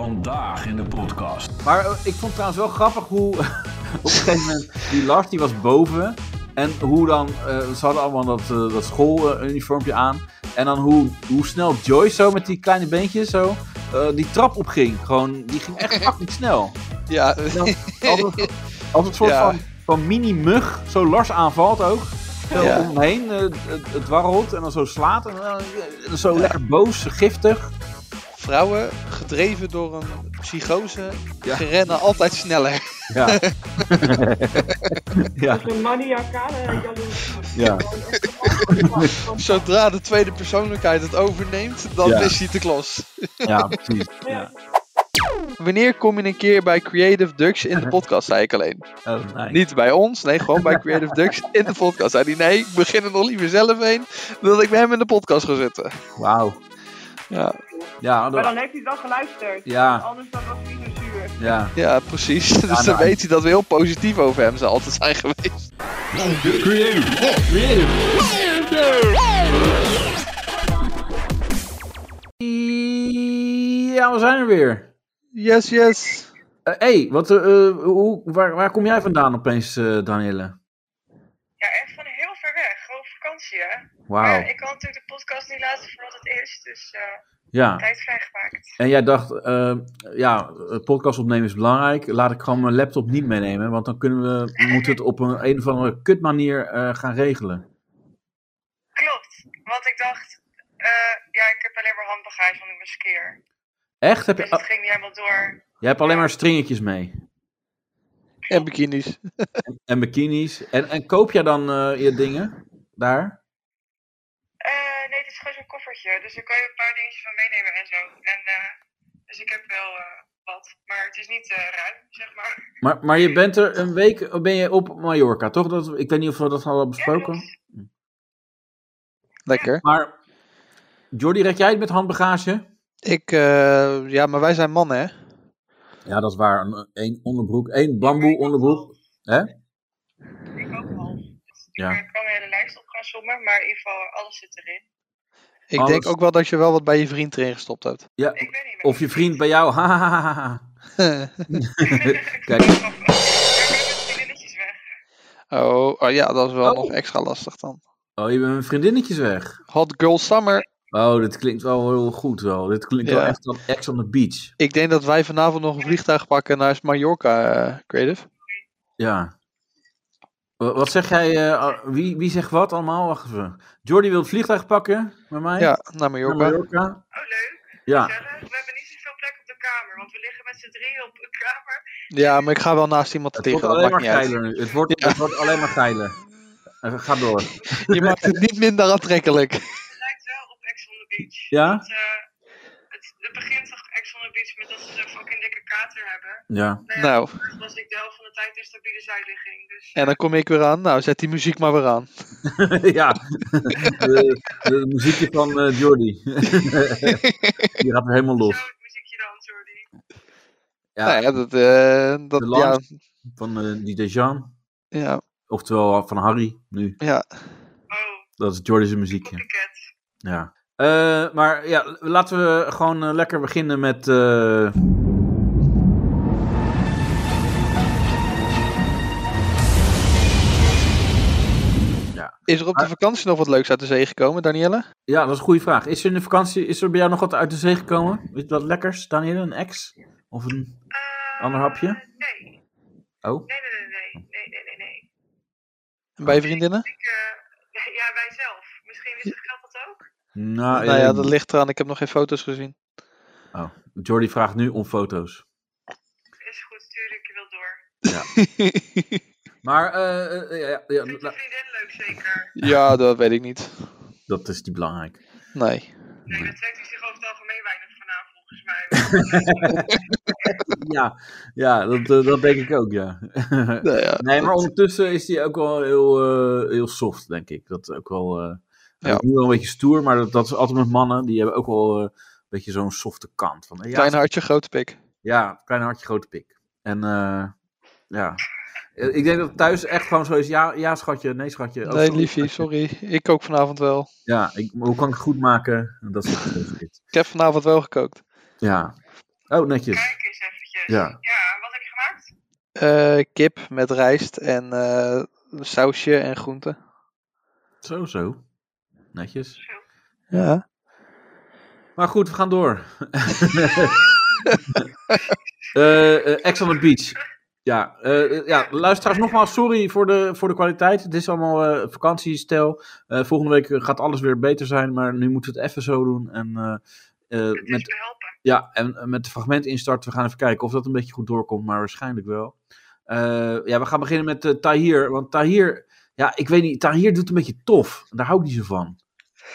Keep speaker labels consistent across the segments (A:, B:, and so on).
A: Vandaag in de podcast.
B: Maar eh, ik vond trouwens wel grappig hoe op een gegeven moment die Lars die was boven. En hoe dan, eh, ze hadden allemaal dat, eh, dat schooluniformpje aan. En dan hoe, hoe snel Joyce zo met die kleine beentjes zo eh, die trap opging. Gewoon, die ging echt fucking snel.
C: Ja,
B: Als een, als een soort
C: Ja.
B: van, van mini-mug, zo Lars aanvalt ook. Zo
C: Ja.
B: omheen, eh, het, het warrelt en dan zo slaat. En dan, eh, zo lekker boos, giftig.
C: vrouwen gedreven door een psychose
B: Ja.
C: rennen altijd sneller.
B: Ja. ja.
D: Een maniacale jaloers.
B: Ja.
C: Zodra de tweede persoonlijkheid het overneemt, dan
B: Ja.
C: is hij te klos.
B: ja, precies. Ja.
C: Wanneer kom je een keer bij Creative Ducks in de podcast, zei ik alleen.
B: Oh, nice.
C: Niet bij ons, nee, gewoon bij Creative Ducks in de podcast. Zei hij, nee, ik begin er nog liever zelf heen dan dat ik bij hem in de podcast ga zitten.
B: Wauw.
C: Ja,
B: Ja,
D: Maar
B: dat-
D: dan heeft hij wel geluisterd.
B: ja,
D: Anders dan was hij zo zuur.
B: ja.
C: ja precies. dus dan
B: nou,
C: weet hij dat we heel positief over hem zijn altijd zijn geweest.
A: Creative.
B: Ja, we zijn er weer.
C: Yes, yes.
B: Hé, hey, wat, eh, eh, hoe, waar, waar kom jij vandaan opeens, eh Danielle?
D: Ja, echt van heel ver weg. Gewoon op vakantie, hè?
B: Oh. Wauw.
D: Maar Eh, ik had natuurlijk de podcast niet laten voor wat het is, dus eh,
B: Ja,
D: tijd vrijgemaakt.
B: en jij dacht, eh, ja, eh, podcast opnemen is belangrijk. Laat ik gewoon mijn laptop niet meenemen, want dan kunnen we, we moeten het op een, een of andere kut manier eh, gaan regelen.
D: Klopt, want ik dacht, eh, ja, ik heb alleen maar handbagage van ik was keer.
B: Echt? Heb
D: Dus
B: je,
D: het
B: ah,
D: ging niet helemaal door.
B: jij hebt alleen maar stringetjes mee.
C: En bikinis.
B: En bikinis. En, en koop jij dan eh, je dingen daar?
D: Eh, nee, het is gewoon zo'n koffertje, dus daar kan je een paar dingetjes van meenemen en zo. En, eh, dus ik heb wel eh, wat, maar het is niet eh, ruim, zeg maar.
B: Maar, maar je bent er een week ben je op Mallorca, toch? Dat, ik weet niet of we dat hadden besproken.
C: Lekker.
B: Maar Jordi, red jij het met handbagage?
C: Ik, eh, ja, maar wij zijn mannen, hè?
B: Ja, dat is waar. Een, één onderbroek, één bamboe onderbroek. Hè?
D: Ik ook half.
B: Ja.
D: Ik kan een hele lijst op gaan sommen, maar in ieder geval, eh, alles zit erin.
C: Ik
B: Alles.
C: denk ook wel dat je wel wat bij je vriend erin gestopt hebt.
B: Ja.
D: Ik weet niet meer.
B: Of je vriend bij jou. Hahaha. Kijk.
D: Ik ben met vriendinnetjes weg.
C: oh, oh ja, dat is wel
B: Oh.
C: nog extra lastig dan.
B: Oh, je bent mijn vriendinnetjes weg.
C: Hot Girl Summer.
B: Oh, dit klinkt wel heel goed wel. Dit klinkt wel
C: Ja.
B: echt als ex on the beach.
C: Ik denk dat wij vanavond nog een vliegtuig pakken naar Mallorca, eh, Creative.
B: Ja. Wa- Wat zeg jij? eh, ah, wie, wie zegt wat allemaal? Wacht even. Jordi wil het vliegtuig pakken met mij.
C: Ja, naar
B: Naar
C: Mallorca.
B: Mallorca.
D: Oh, leuk.
B: Ja.
D: Gezellig. We hebben niet zoveel plek op de kamer, want we liggen met z'n drieën op een kamer.
C: Ja, maar ik ga wel naast iemand
B: Het wordt
C: liggen, dat
B: alleen
C: maakt
B: maar
C: niet uit.
B: geiler nu. Het wordt, het wordt alleen maar geiler. Eh, Ga door.
C: Je maakt het niet minder aantrekkelijk.
D: Het lijkt wel op Ex on the Beach.
B: Ja?
D: Want, eh, het, het begint toch Ex on the Beach met dat ze zo'n fucking dikke kater hebben.
B: Ja.
D: Nou, ja,
C: Nou,
D: dat was ik de helft van de tijd in stabiele zijligging. Dus
C: en dan kom ik weer aan. Nou, zet die muziek maar weer aan.
B: ja. De, de muziekje van eh, Jordi. Die gaat weer helemaal
D: zo
B: los.
D: het muziekje dan, Jordi.
B: Ja.
C: Nou ja, dat, eh,
B: De
C: dat ja,
B: Lans. Van eh DJ Jean.
C: ja,
B: Oftewel eh, van Harry nu.
C: ja.
D: Oh,
B: Dat is Jordi's muziekje.
D: copycat.
B: Ja. Eh, maar ja, laten we gewoon eh, lekker beginnen met. eh,
C: Is er op
B: Ah.
C: de vakantie nog wat leuks uit de zee gekomen, Danielle?
B: Ja, dat is een goede vraag. Is er in de vakantie, is er bij jou nog wat uit de zee gekomen? Is dat lekkers, Daniel? Een ex? Of een
D: Eh,
B: ander hapje?
D: Nee.
B: Oh,
D: Nee, nee, nee, nee, nee, nee, nee, nee.
C: En
B: Ah.
C: bij je vriendinnen?
D: Ik, eh, ja, wij zelf. Misschien is het geld dat ook.
B: nou,
C: nou ja,
B: eh,
C: dat ligt eraan. Ik heb nog geen foto's gezien.
B: oh. Jordi vraagt nu om foto's.
D: Is goed, stuur ik je wel door.
B: Maar, eh, eh, ja, ja,
D: Vind je
B: la-
D: vriendin leuk zeker?
C: ja, dat weet ik niet.
B: dat is niet belangrijk.
C: Nee.
D: Nee, dat trekt hij zich over het algemeen weinig vanavond volgens mij.
B: Ja, ja dat, eh, dat denk ik ook, ja.
C: Nou ja,
B: Nee, maar
C: dat-
B: ondertussen is hij ook wel heel, eh, heel soft, denk ik. Dat is ook wel. eh hij
C: Ja.
B: is nu wel een beetje stoer, maar dat, dat is altijd met mannen. Die hebben ook wel eh, een beetje zo'n softe kant. Van, eh, ja,
C: Klein hartje, grote pik.
B: Ja, klein hartje, grote pik. En eh, ja. Eh, Ik denk dat het thuis echt gewoon zo is. Ja, ja schatje. Nee, schatje. Oh,
C: Nee,
B: sorry,
C: liefie,
B: schatje.
C: sorry. Ik kook vanavond wel.
B: Ja, ik, hoe kan ik het goed maken? Dat soort shit.
C: Ik heb vanavond wel gekookt.
B: Ja. Oh, netjes.
D: Kijk eens eventjes.
E: Ja.
D: wat heb je gemaakt?
C: Eh, kip met rijst en eh, sausje en groenten.
B: Zo, zo. Netjes.
C: Ja.
B: Maar goed, we gaan door. Eh eh, Ex on the Beach. Ja, eh, eh, ja, luisteraars, nogmaals, sorry voor de, voor de kwaliteit. Het is allemaal eh vakantiestijl. Eh, volgende week eh, gaat alles weer beter zijn, maar nu moeten we het even zo doen. En, eh, eh,
D: Het is
B: met,
D: behelpen.
B: ja, en eh, met de fragment instart, we gaan even kijken of dat een beetje goed doorkomt, maar waarschijnlijk wel. Eh, ja, we gaan beginnen met eh, Tahir. Want Tahir, ja, ik weet niet, Tahir doet een beetje tof. Daar hou ik niet zo van.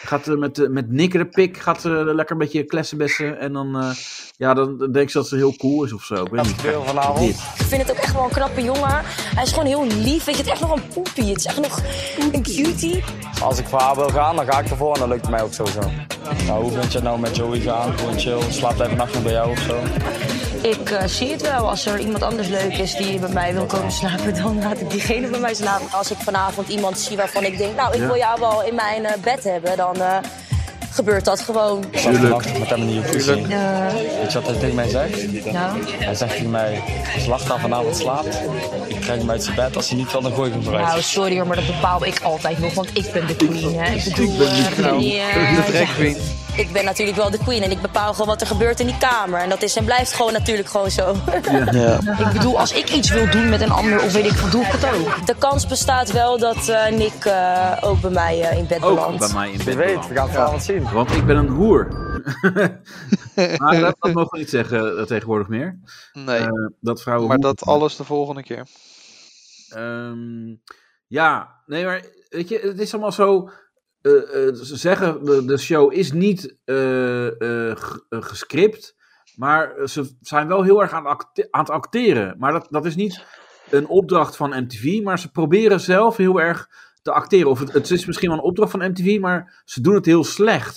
B: Gaat eh, met, eh, met nikkeren pik, gaat eh, lekker een beetje klessenbessen. En dan, eh, ja, dan dan denk ze dat ze heel cool is of zo. Ik weet niet. Dit.
F: Ik vind het ook echt wel een knappe jongen. Hij is gewoon heel lief. Weet je, het is echt nog een poepie. Het is echt nog een cutie.
G: Als ik voor haar wil gaan, dan ga ik ervoor en dat lukt mij ook sowieso. Nou, hoe vind je het nou met Joey gaan? Gewoon chill, slaapt hij vannacht nog bij jou of zo?
F: Ik eh, zie het wel. Als er iemand anders leuk is die bij mij wil komen slapen, dan laat ik diegene bij mij slapen. Als ik vanavond iemand zie waarvan ik denk, nou, ik
B: Ja.
F: wil jou wel in mijn eh, bed hebben, dan eh, gebeurt dat gewoon.
G: Ik zat vannacht met hem in de jacuzzi.
F: Ja.
G: Weet je wat hij tegen mij zegt?
F: nou,
G: Hij zegt tegen mij, als Lachta vanavond slaapt, ik trek hem uit zijn bed. Als hij niet wil, dan gooi ik hem eruit.
F: nou, sorry hoor, maar dat bepaal ik altijd nog, want ik ben de queen. Hè. Ik bedoel, eh,
B: Nou.
F: ja,
C: De drag
F: ja.
C: queen.
F: Ik ben natuurlijk wel de queen en ik bepaal gewoon wat er gebeurt in die kamer. En dat is en blijft gewoon natuurlijk gewoon zo.
C: Ja.
F: Ik bedoel, als ik iets wil doen met een ander, of weet ik, doe ik het ook. De kans bestaat wel dat eh, Nick eh, ook bij mij eh, in bed
B: Ook
F: belandt.
B: bij mij in
G: Je
B: bed.
G: weet,
B: beland.
G: we gaan het vanavond zien.
B: Want ik ben een hoer. maar dat, dat mogen we niet zeggen eh, tegenwoordig meer.
C: Nee,
B: Eh, dat vrouwen
C: maar
B: hoeren
C: dat alles de volgende keer.
B: Ehm, ja, nee, maar weet je, het is allemaal zo. eh, eh, ze zeggen, de, de show is niet eh, eh, g- eh, gescript. Maar ze zijn wel heel erg aan, acte- aan het acteren. Maar dat, dat is niet een opdracht van MTV. Maar ze proberen zelf heel erg te acteren. Of het, het is misschien wel een opdracht van MTV, maar ze doen het heel slecht.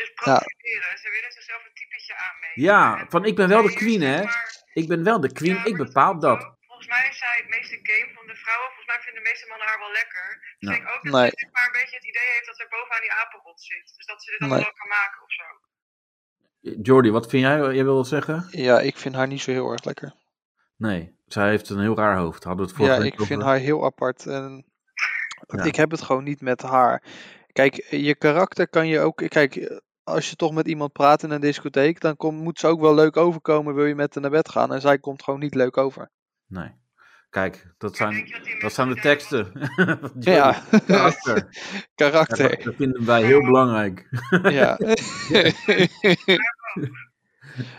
D: Dus profileren. Ze willen zichzelf een typetje aanmeten.
B: Ja,
D: En
B: van ik ben wel de
D: Tahir,
B: queen,
D: zeg
B: hè?
D: maar,
B: Ik ben wel de
D: ja,
B: queen, ik
D: maar
B: bepaal
D: is
B: dat.
D: ook- Volgens mij is zij het meeste game van de vrouwen. Volgens mij vinden de meeste mannen haar wel lekker. Dus Ik
B: Ja.
D: denk ook dat
C: Nee.
D: ze zeg maar een beetje het idee heeft dat ze bovenaan die apenrot zit. Dus dat ze dit dan
C: Nee.
D: wel kan maken of zo.
B: Jordi, wat vind jij? Jij wil wat zeggen?
C: Ja, ik vind haar niet zo heel erg lekker.
B: Nee, zij heeft een heel raar hoofd. Hadden we het vorige
C: Ja,
B: week
C: ik vind
B: over.
C: haar heel apart. En
B: Ja.
C: Ik heb het gewoon niet met haar. Kijk, je karakter kan je ook. Kijk, als je toch met iemand praat in een discotheek, dan komt moet ze ook wel leuk overkomen. Wil je met haar naar bed gaan? En zij komt gewoon niet leuk over.
B: Nee. Kijk, dat
D: Maar denk
B: zijn,
D: je die
B: dat
D: mensen
B: zijn de
D: die daar-
B: teksten.
C: Ja,
B: Karakter. Ja, dat-
C: karakter.
B: dat vinden wij heel belangrijk.
C: Ja.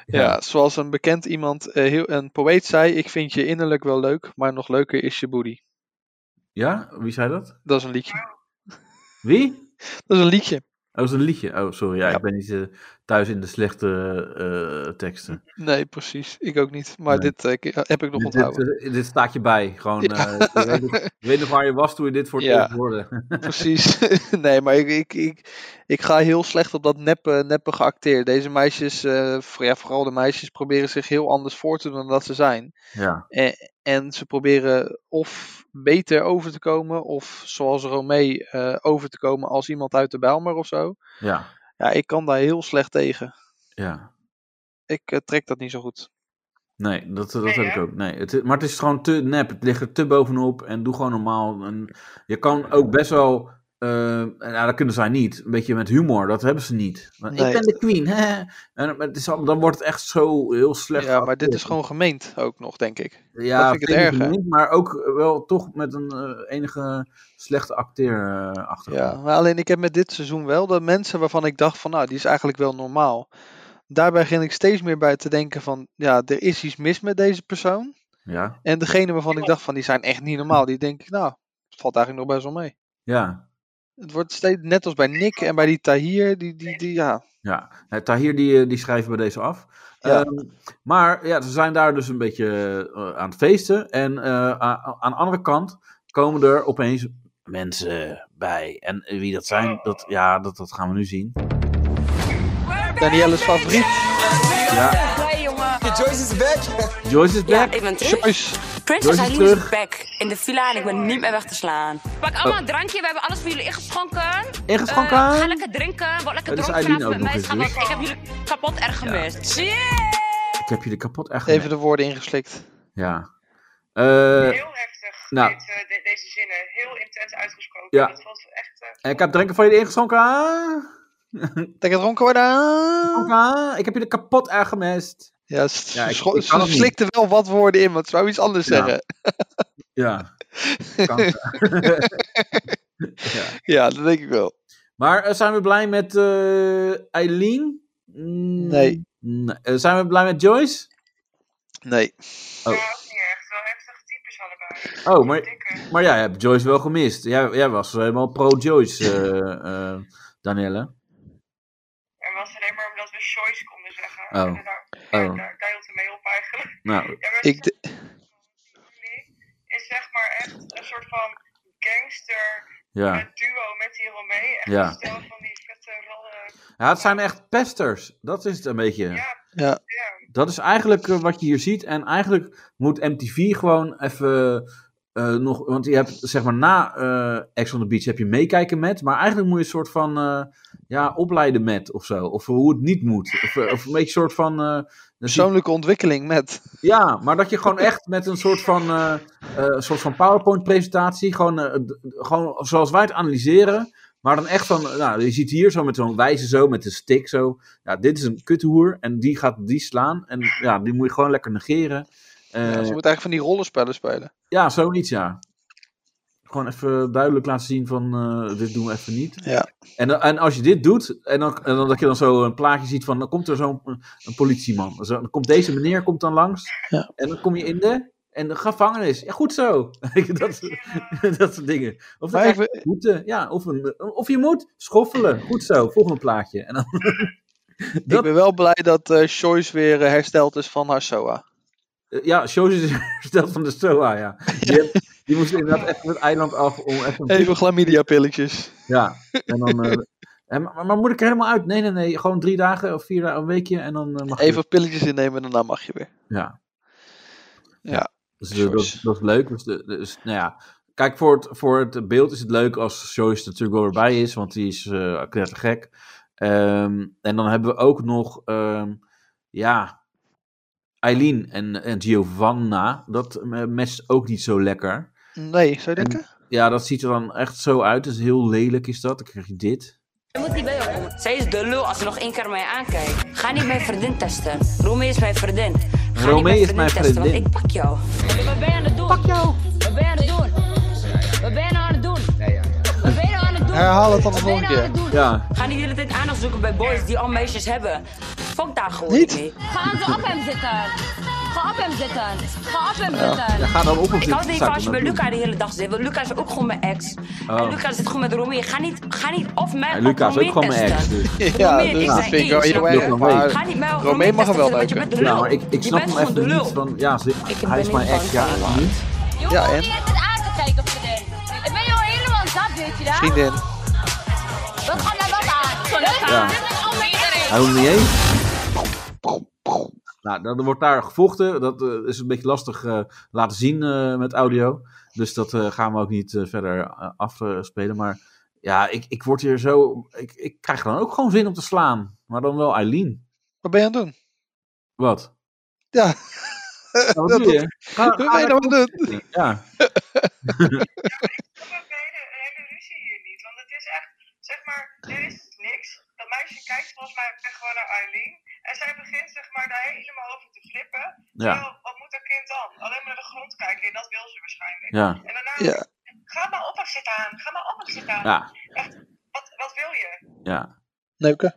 C: ja, zoals een bekend iemand, eh, heel, een poëet zei: Ik vind je innerlijk wel leuk, maar nog leuker is je booty.
B: Ja? Wie zei dat?
C: Dat is een liedje.
B: Wie?
C: Dat is een liedje.
B: Oh, dat is een liedje. Oh, sorry. Ja,
C: Ja.
B: ik ben niet eh, thuis in de slechte eh, teksten.
C: Nee, precies. Ik ook niet. Maar
B: Nee.
C: dit eh, k- heb ik nog
B: Dit,
C: onthouden.
B: dit, eh, dit staat je bij. Gewoon, eh, je, weet nog, je weet nog waar je was toen je dit voor het
C: Ja.
B: eerst hoorde.
C: Precies. nee, maar ik, ik, ik, ik ga heel slecht op dat neppe, neppe geacteerd. Deze meisjes, eh, voor- ja, vooral de meisjes, proberen zich heel anders voor te doen dan dat ze zijn.
B: Ja.
C: En ze proberen of beter over te komen, of zoals Romee eh, over te komen als iemand uit de Bijlmer of zo.
B: Ja.
C: Ja, ik kan daar heel slecht tegen.
B: Ja.
C: Ik eh, trek dat niet zo goed.
B: Nee, dat, dat
D: Nee,
B: heb ik
D: hè?
B: ook. Nee, het, is- maar het is gewoon te nep. Het ligt er te bovenop en doe gewoon normaal. En je kan ook best wel, eh, nou dat kunnen zij niet, een beetje met humor, dat hebben ze niet. Want Ik
C: Nee.
B: ben de queen, hè. En het is, allemaal- dan wordt het echt zo heel slecht.
C: Ja, maar dit is
B: geacteerd.
C: gewoon gemeend ook nog, denk ik.
B: Ja,
C: dat vind ik het erger.
B: niet, maar ook wel toch met een eh, enige slechte acteer eh achter.
C: Ja, maar alleen ik heb met dit seizoen wel de mensen waarvan ik dacht van nou, die is eigenlijk wel normaal. Daarbij ging ik steeds meer bij te denken van ja, er is iets mis met deze persoon.
B: ja.
C: En degene waarvan ik dacht van die zijn echt niet normaal, die denk ik nou, het valt eigenlijk nog best wel mee.
B: ja.
C: Het wordt steeds net als bij Nick en bij die Tahir, die, die, die ja.
B: Ja, nou, Tahir die, eh, die schrijven we deze af.
C: Ja.
B: Ehm, maar ja, ze zijn daar dus een beetje eh, aan het feesten. En eh, a- aan de andere kant komen er opeens mensen bij. En eh, wie dat zijn, dat, ja, dat, dat gaan we nu zien.
C: Danielle's favoriet.
B: Ja,
F: Hey jongen.
B: Joyce is back.
F: ik ben terug.
C: Joyce.
E: Princess
B: Joyce is
E: Eileen is
B: terug.
E: back in de villa en ik ben niet meer weg te slaan. Pak allemaal een drankje, we hebben alles voor jullie ingeschonken.
B: Ingeschonken?
E: Eh,
F: Ehm,
E: ga lekker drinken, word
B: Ja,
E: lekker
B: dus
E: dronken
B: Eileen
E: vanavond
B: ook
E: met mij.
B: nog
E: schat,
B: eens,
E: want Ik heb jullie kapot erg gemist. Yeah!
B: Ik heb jullie kapot echt
C: Even
B: Even
C: de woorden ingeslikt.
B: Ja. Eh,
D: Heel heftig,
B: nou.
D: dit, eh, de- deze zinnen. Heel intens uitgesproken.
B: Ja.
D: Dat was echt... eh,
B: ik heb drinken van jullie ingeschonken.
C: Denk het dronken worden.
B: Ingeschonken. Ik heb jullie kapot echt gemist.
C: Ja, s-
B: Ja, ik- ik
C: scho-
B: kan
C: ze
B: het niet.
C: slikte wel wat woorden in, want ze wou iets anders
B: Ja.
C: zeggen.
B: Ja. Kan. ja.
C: Ja, dat denk ik wel.
B: Maar eh, zijn we blij met eh, Eileen? Mm,
C: Nee.
B: nee. Eh, zijn we blij met Joyce?
C: Nee.
B: Oh.
D: Ja, ook niet echt. Wel heftige types allebei.
B: Oh, maar,
D: Dikke.
B: maar jij hebt Joyce wel gemist. Jij, jij was helemaal pro-Joyce, eh, eh, Danielle.
D: En was alleen maar omdat we choice konden zeggen.
B: Oh.
D: En daar, daar,
B: Oh.
D: daar, daar hield het mee op eigenlijk.
B: Nou,
D: Ja, maar
C: Ik d-
D: Lee is zeg maar echt een soort van gangster eh,
B: ja.
D: duo met die Romee. Echt
B: Ja.
D: een stel van die vette rollen.
B: ja. Het zijn echt pesters. Dat is het een beetje.
D: Ja,
C: ja.
D: ja.
B: Dat is eigenlijk eh, wat je hier ziet. En eigenlijk moet MTV gewoon even eh, nog... Want je hebt, zeg maar, na eh X on the Beach heb je meekijken met. Maar eigenlijk moet je een soort van... eh, ja, opleiden met of zo. Of hoe het niet moet. Of, eh, of een beetje een soort van... eh, dan zie je-
C: Persoonlijke ontwikkeling met.
B: Ja, maar dat je gewoon echt met een soort van, eh, eh, een soort van PowerPoint-presentatie, gewoon, eh, d- d- gewoon zoals wij het analyseren, maar dan echt van, nou, je ziet hier zo met zo'n wijze zo, met een stick zo, ja, dit is een kuthoer en die gaat die slaan en ja, die moet je gewoon lekker negeren. Eh,
C: Ja, ze moet eigenlijk van die rollenspellen spelen.
B: ja, zoiets, ja. Gewoon even duidelijk laten zien van, eh, dit doen we even niet.
C: Ja.
B: En, dan- en als je dit doet, en, dan, en dan dat je dan zo een plaatje ziet van, dan komt er zo'n een politieman. Zo, dan komt deze meneer komt dan langs.
C: Ja.
B: En dan kom je in de, en de gevangenis. Ja, goed zo. Weet je, dat, dat soort dingen. Of, dan
C: Maar ik
B: krijg je boete. ja, of, een, of je moet schoffelen. Goed zo, volgende plaatje. En dan,
C: Ik
B: Dat-
C: ben wel blij dat eh Joyce weer eh, hersteld is van haar SOA.
B: eh, ja, shows is hersteld van de SOA, ja. Die, heb- die moest inderdaad echt van het eiland af om even... een
C: Even chlamydia-pilletjes.
B: Ja, en dan... eh, en, maar, maar moet ik er helemaal uit? Nee, nee, nee. Gewoon drie dagen of vier dagen, een weekje en dan eh, mag je-
C: Even wat pilletjes innemen en daarna mag je weer.
B: Ja.
C: Ja,
B: Dus eh, dat,
C: Joyce.
B: dat is leuk. Dus, de- dus nou ja. Kijk, voor het, voor het beeld is het leuk als Joyce er natuurlijk wel weer bij is, want die is eh knettergek. Ehm, en dan hebben we ook nog, ehm, ja, Eileen en, en Giovanna. Dat eh, matcht ook niet zo lekker.
C: Nee, zou je denken?
B: Ja, dat ziet er dan echt zo uit. Dus heel lelijk is dat. Dan krijg je dit.
E: Dan moet die bij jou komen. Zij is de lul als ze nog één keer mij aankijkt. Ga niet mijn vriendin testen. Romee is mijn vriendin. Ga
B: Romee
E: niet mijn
B: is mijn
E: vriendin testen, want
B: vriendin.
E: ik pak jou. Wat ben je aan het doen? Pak jou. Wat ben je aan het doen? Wat ben je nou aan het doen? Wat ben je nou aan het doen?
C: Herhaal het dan de
E: Wat ben je
C: volgende
E: nou aan
C: keer.
E: het doen?
B: Ja,
E: Ga niet de hele tijd aandacht zoeken bij boys die al meisjes hebben. Fuck daar gewoon
C: Niet?
E: mee. Ga zo op hem zitten. Ga op hem zitten. Ga op hem zitten.
B: ja ga dan op een
E: Ik had niet van als je bij
B: zitten.
E: Luca de hele dag zit. Want Luca is ook gewoon mijn ex.
B: Oh.
E: En Luca zit gewoon met Romee. Ga niet, ga niet of mij
B: Ja,
E: of
B: Luca is ook
E: Romee
B: gewoon mijn ex.
E: testen.
B: Dus.
C: Ja,
E: Romee en
C: dus
E: ik
C: dat
E: zijn
C: vind ik wel
E: één,
C: heel
E: snap je?
C: erg.
B: Romee.
E: Ga
C: Maar
E: niet mij of
C: Romee
E: Romee
C: mag er
E: testen,
C: wel
E: want je bent
C: neuken.
E: de lul.
B: Ja, maar Nou, ik, ik snap hem
E: je bent
B: even
E: gewoon de
B: niet.
E: lul.
B: Van, ja, ze-
E: ben
B: hij is
E: niet
B: mijn
E: bang
B: ex.
E: voor
B: Ja,
E: je,
B: ik
E: man.
B: niet.
C: Ja, en?
H: aan te kijken op vriendin. Ik ben jou helemaal zat, weet je dat?
C: vriendin.
H: Wat gaat nou dat aan? Dat
B: Ja.
H: is allemaal iedereen.
B: Hij wil niet eens. Nou, dan wordt daar gevochten. Dat eh, is een beetje lastig eh, laten zien eh, met audio. Dus dat eh, gaan we ook niet eh, verder eh, afspelen. Maar ja, ik, ik word hier zo. Ik, ik krijg dan ook gewoon zin om te slaan. Maar dan wel Eileen.
C: Wat ben je aan het doen?
B: Wat?
C: Ja.
B: Nou, wat doe je? Ga,
C: Wat ben je nou aan het doen?
B: ga- ja.
D: Ik heb ook een hele, een hele ruzie hier niet. Want het is echt, zeg maar, er is niks. Dat meisje kijkt volgens mij echt gewoon naar Eileen. En zij begint zeg maar daar helemaal over te flippen.
B: Ja.
D: Terwijl, wat moet dat kind dan? Alleen maar naar de grond kijken. En dat wil ze waarschijnlijk.
B: Ja.
D: En daarna,
C: Ja.
D: ga maar op zit aan. Ga maar op zit aan.
B: Ja.
D: Echt, wat, wat wil je?
B: ja.
C: Neuken.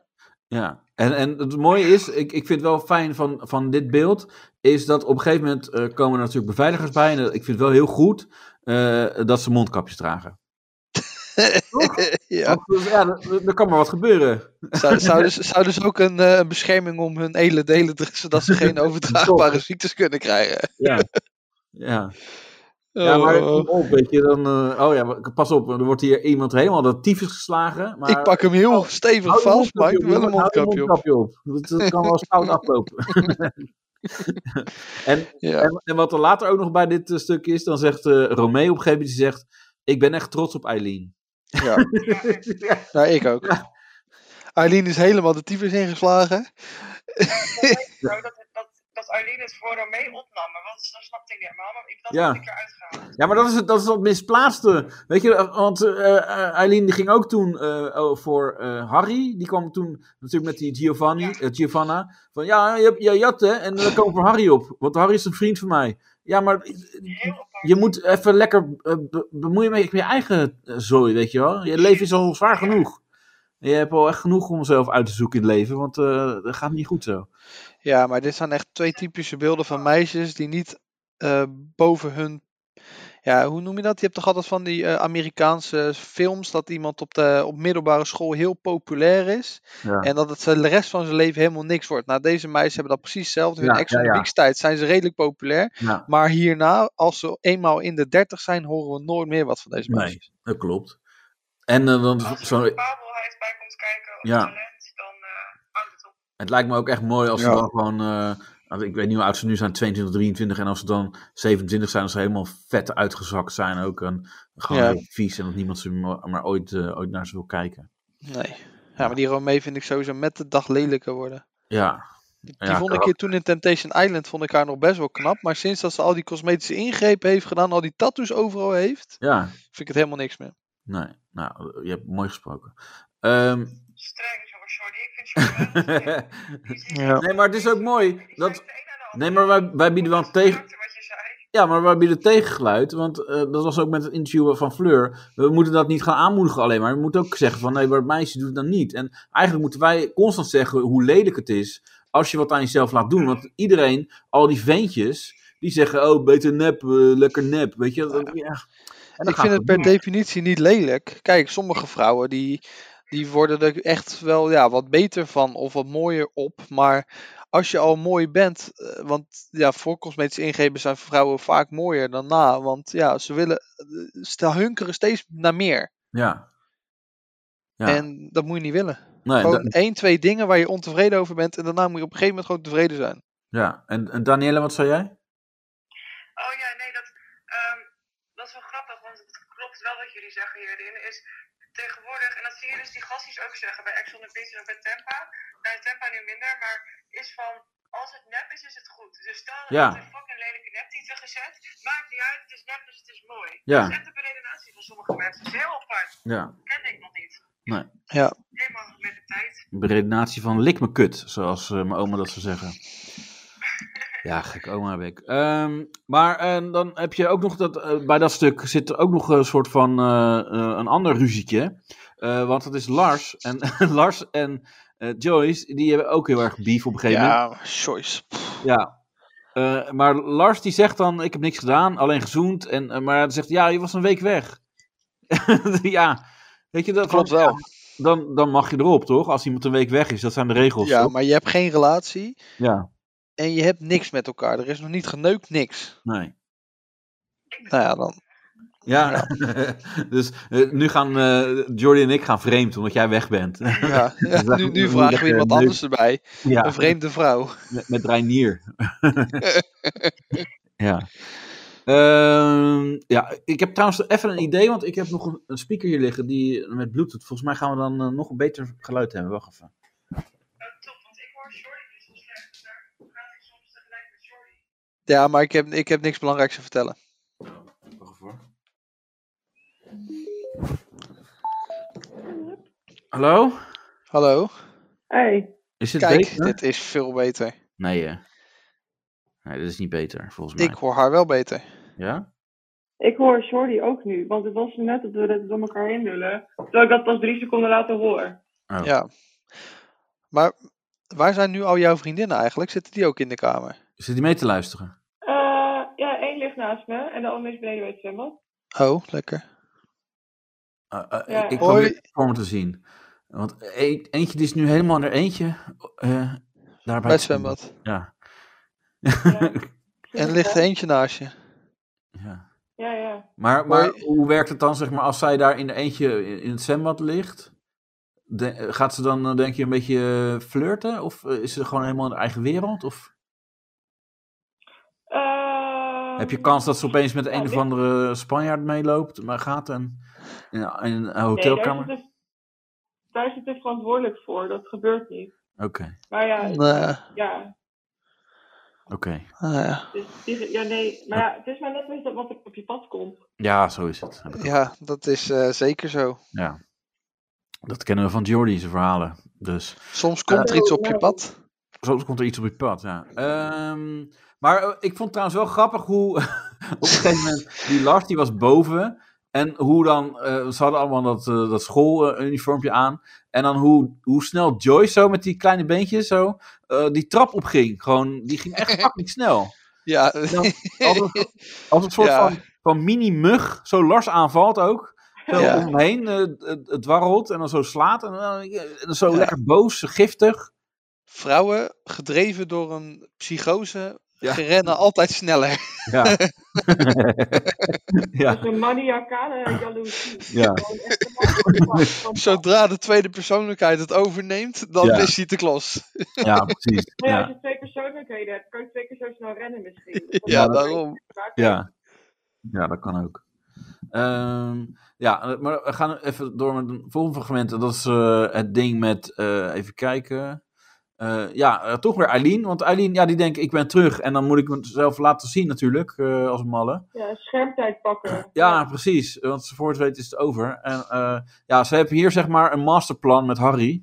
B: Ja, en, en het mooie is, ik, ik vind wel fijn van, van dit beeld, is dat op een gegeven moment eh, komen er natuurlijk beveiligers bij. En eh, ik vind het wel heel goed eh, dat ze mondkapjes dragen.
C: Ja.
B: Want, eh, Ja, er er kan maar wat gebeuren.
C: Zou- Zouden ze, zouden ze ook een eh, een bescherming om hun edele delen te- zodat ze geen overdraagbare ziektes kunnen krijgen?
B: Ja, ja. ja maar
C: Oh,
B: kom op, weet je, dan, eh, oh ja, maar pas op, er wordt hier iemand helemaal dat tyfus geslagen. Maar Oh.
C: ik pak hem heel stevig
B: Hou je
C: vast, maar
B: mondkapje
C: ik
B: op,
C: wil een
B: jongen, hou je
C: mondkapje op.
B: mondkapje op. Dat, dat kan wel eens fout aflopen.
C: Ja.
B: En, en wat er later ook nog bij dit eh, stuk is, dan zegt eh Romeo op een gegeven moment, die zegt, ik ben echt trots op Eileen.
C: ja. Nou, ik ook. Eileen is helemaal de tyfus ingeslagen.
D: Zo dat, dat, dat Arlene het voor mee opnam, maar wat, dat snapte ik niet helemaal. Maar ik, dat
B: Ja.
D: heb ik eruit gehaald.
B: Ja, maar dat is, het- dat is dat misplaatste. Weet je, eh, want eh, eh, Eileen die ging ook toen eh, oh, voor eh, Harry. Die kwam toen natuurlijk met die Giovanni, eh, Giovanna. Van ja, je, hebt- je jat hè, en eh, dan kwam voor Harry op. Want Harry is een vriend van mij. Ja, maar eh,
D: Heel apart.
B: je moet even lekker eh, be- bemoeien met je eigen eh, zooi, weet je wel. Je leven is al zwaar genoeg. En Je hebt al echt genoeg om zelf uit te zoeken in het leven, want eh dat gaat niet goed zo.
C: Ja, maar dit zijn echt twee typische beelden van meisjes die niet eh, boven hun. Ja, hoe noem je dat? Je hebt toch altijd van die eh, Amerikaanse films dat iemand op de op middelbare school heel populair is.
B: Ja.
C: En dat het ze de rest van zijn leven helemaal niks wordt. Nou, deze meisjes hebben dat precies hetzelfde. Hun
B: Ja,
C: ex
B: ja,
C: on the
B: ja.
C: Beach tijd zijn ze redelijk populair.
B: Ja.
C: Maar hierna, als ze eenmaal in de 30 zijn, horen we nooit meer wat van deze
B: Nee.
C: meisjes.
B: Dat klopt. En eh, dan
D: Als er
B: zo,
D: een bepaalheid bij komt kijken, of
B: Ja.
D: talent, dan eh, houdt het op.
B: Het lijkt me ook echt mooi als
C: Ja.
B: ze dan gewoon. eh, nou, ik weet niet hoe oud ze nu zijn, 22, 23. En als ze dan 27 zijn, als ze helemaal vet uitgezakt zijn ook. En gewoon
C: Ja.
B: heel vies en dat niemand ze maar, maar ooit, eh, ooit naar ze wil kijken.
C: Nee. Ja, maar die Romee vind ik sowieso met de dag lelijker worden.
B: Ja.
C: Die
B: Ja,
C: vond ik hier
B: karak-
C: toen in Temptation Island vond ik haar nog best wel knap. Maar sinds dat ze al die cosmetische ingrepen heeft gedaan, al die tattoos overal heeft,
B: Ja,
C: vind ik het helemaal niks meer.
B: nee. Nou, je hebt mooi gesproken. Ehm,
D: Streng is jongens, sorry. Ik vind Jordi wel een- die is niet-
C: Ja.
B: nee, maar het is ook mooi.
D: die
B: Dat,
D: zegt de een na de ander.
B: nee, maar wij, wij bieden wel
D: Dat
B: een
D: is
B: tegen.
D: exact Wat je zei.
B: Ja, maar waar bieden tegengeluid? Want eh, dat was ook met het interview van Fleur. We moeten dat niet gaan aanmoedigen alleen maar. We moeten ook zeggen van nee, maar het meisje doet het dan niet. En eigenlijk moeten wij constant zeggen hoe lelijk het is als je wat aan jezelf laat doen. Want iedereen, al die ventjes, die zeggen oh beter nep, eh, lekker nep. Weet je, dat, ja. En dan
C: Ik vind het per definitie niet lelijk. Kijk, sommige vrouwen die, die worden er echt wel ja, wat beter van of wat mooier op. Maar als je al mooi bent, eh, want ja, voor cosmetische ingrepen zijn vrouwen vaak mooier dan na. Want ja, ze willen, eh, ze hunkeren steeds naar meer.
B: Ja. Ja.
C: En dat moet je niet willen.
B: Nee,
C: Gewoon
B: da-
C: één, twee dingen waar je ontevreden over bent. En daarna moet je op een gegeven moment gewoon tevreden zijn.
B: ja. En, en Danielle, wat zei jij?
D: Oh ja, nee, dat, ehm, dat is wel grappig, want het klopt wel wat jullie zeggen hierin. Is tegenwoordig, en dat zie je dus die gastjes ook zeggen bij Exxon en Beach en ook bij Tempa. Nou, Tempa nu minder, maar is van. Als het nep is, is het goed. Dus stel dat
B: Ja.
D: je een fucking lelijke neptitel gezet. Maakt niet uit, het is nep, dus het is mooi.
B: Ja.
D: Dat is echt de beredenatie van sommige mensen. Dat is heel apart.
B: Ja.
D: Ken ik nog niet.
C: Ja,
D: Helemaal met de tijd.
B: Beredenatie van lik me kut, zoals eh, mijn oma dat zou zeggen. Ja, gek oma heb ik. Ehm, maar eh, dan heb je ook nog dat, eh, bij dat stuk zit er ook nog een soort van eh, eh, een ander ruzietje. Eh, want dat is Lars en Lars en eh, Joyce, die hebben ook heel erg beef op een gegeven moment.
C: ja choice.
B: Ja. Eh, maar Lars die zegt dan, ik heb niks gedaan, alleen gezoend. En, eh, maar hij zegt, ja, je was een week weg. ja, weet je, dat
C: Klopt
B: van,
C: wel.
B: dan, dan mag je erop, toch? Als iemand een week weg is, dat zijn de regels.
C: Ja,
B: toch?
C: maar je hebt geen relatie.
B: ja
C: En je hebt niks met elkaar. Er is nog niet geneukt, niks.
B: nee.
C: Nou ja, dan.
B: Ja, dus eh, nu gaan eh Jordi en ik gaan vreemd, omdat jij weg bent.
C: Ja, ja, nu, nu vragen we iemand anders erbij. Een
B: ja,
C: vreemde vrouw.
B: met, met Reinier. ja. Ehm, ja, ik heb trouwens even een idee, want ik heb nog een, een speaker hier liggen die met bluetooth. Volgens mij gaan we dan eh, nog een beter geluid hebben. Wacht even.
D: Oh, top, want ik hoor Jordi dus zo slecht. Dus daar praat ik soms tegelijk met Jordi.
C: Ja, maar ik heb, ik heb niks belangrijks te vertellen.
B: Wacht even. hoor. Hallo?
C: Hallo?
I: Hey,
B: Is dit
C: Kijk,
B: beter?
C: dit is veel beter.
B: Nee, hè. Nee, dit is niet beter, volgens mij.
C: Ik hoor haar wel beter.
B: Ja?
I: ik hoor Jordi ook nu, want het was net dat we het door elkaar heen lullen, terwijl ik dat pas drie seconden later hoor.
B: Oh.
C: Ja. Maar waar zijn nu al jouw vriendinnen eigenlijk? Zitten die ook in de kamer?
B: Zit hij mee te luisteren?
I: Eh, ja, één ligt naast me en de andere is beneden bij het zwembad.
C: Oh, lekker.
B: Eh, eh,
I: Ja.
B: Ik
C: Hoi.
B: probeer het voor me te zien. Want e- eentje die is nu helemaal naar eentje. eh daar
C: Bij het zwembad.
B: Ja.
I: Ja.
C: En er ligt er eentje naast je.
B: ja.
I: Ja, ja.
B: Maar, maar
C: Hoi.
B: hoe werkt het dan, zeg maar, als zij daar in de eentje in- in het zwembad ligt? De- eh, gaat ze dan, eh, denk je, een beetje eh, flirten? Of eh, is ze gewoon helemaal in haar eigen wereld? Of...
I: Eh,
B: Heb je kans dat ze opeens met een
I: nou,
B: of
I: Ehm, dit-
B: andere Spanjaard meeloopt, maar gaat en in een, in een
I: nee, daar is
B: hotelkamer?
I: het- Daar is het er verantwoordelijk voor. Dat gebeurt niet.
B: Oké,
I: Maar ja,
C: Nee,
I: ja,
B: oké.
C: nou ja.
I: dus die- ja, nee. Maar ja, het is maar net niet dat wat er op je pad komt.
B: Ja, zo is het. Heb ik-
C: ja, dat is eh, zeker zo.
B: Ja. Dat kennen we van Jordi, zijn verhalen. Dus
C: Soms komt er iets op je pad.
B: soms komt er iets op je pad, ja. Ehm, maar eh, ik vond trouwens wel grappig hoe op een gegeven moment die Lars, die was boven. En hoe dan, eh, ze hadden allemaal dat, eh, dat schooluniformpje aan. En dan hoe, hoe snel Joyce zo met die kleine beentjes zo eh, die trap opging. Gewoon, die ging echt fucking snel.
C: Ja,
B: dan- als, een, als een soort
C: Ja.
B: van, van mini-mug, zo Lars aanvalt ook. Zo
C: Ja.
B: omheen eh, het, het dwarrelt en dan zo slaat. En, dan- eh, en dan zo
C: Ja.
B: lekker boos, giftig.
C: vrouwen gedreven door een psychose
B: Ja.
C: rennen altijd sneller.
B: Ja. ja,
I: Dus een maniacale jaloezie.
B: ja.
I: Gewoon echt een man- van- van-
C: Zodra de tweede persoonlijkheid het overneemt, dan
B: Ja.
C: is hij te klos.
B: ja, precies.
I: Nee, als
B: Ja,
I: je twee persoonlijkheden hebt, kan je twee keer zo snel rennen misschien. Dus dat
C: Ja,
I: is-
C: daarom.
B: ja. ja dat kan ook. Ehm, ja, maar we gaan even door met een volgende fragment. En dat is eh, het ding met, eh, even kijken. Eh, ja, eh, toch weer Eileen. Want Eileen, ja, die denkt, ik ben terug. En dan moet ik mezelf laten zien natuurlijk, eh, als malle.
I: Ja, schermtijd pakken.
B: Ja, precies. Want ze voor het weten is het over. En eh, ja, ze hebben hier zeg maar een masterplan met Harry.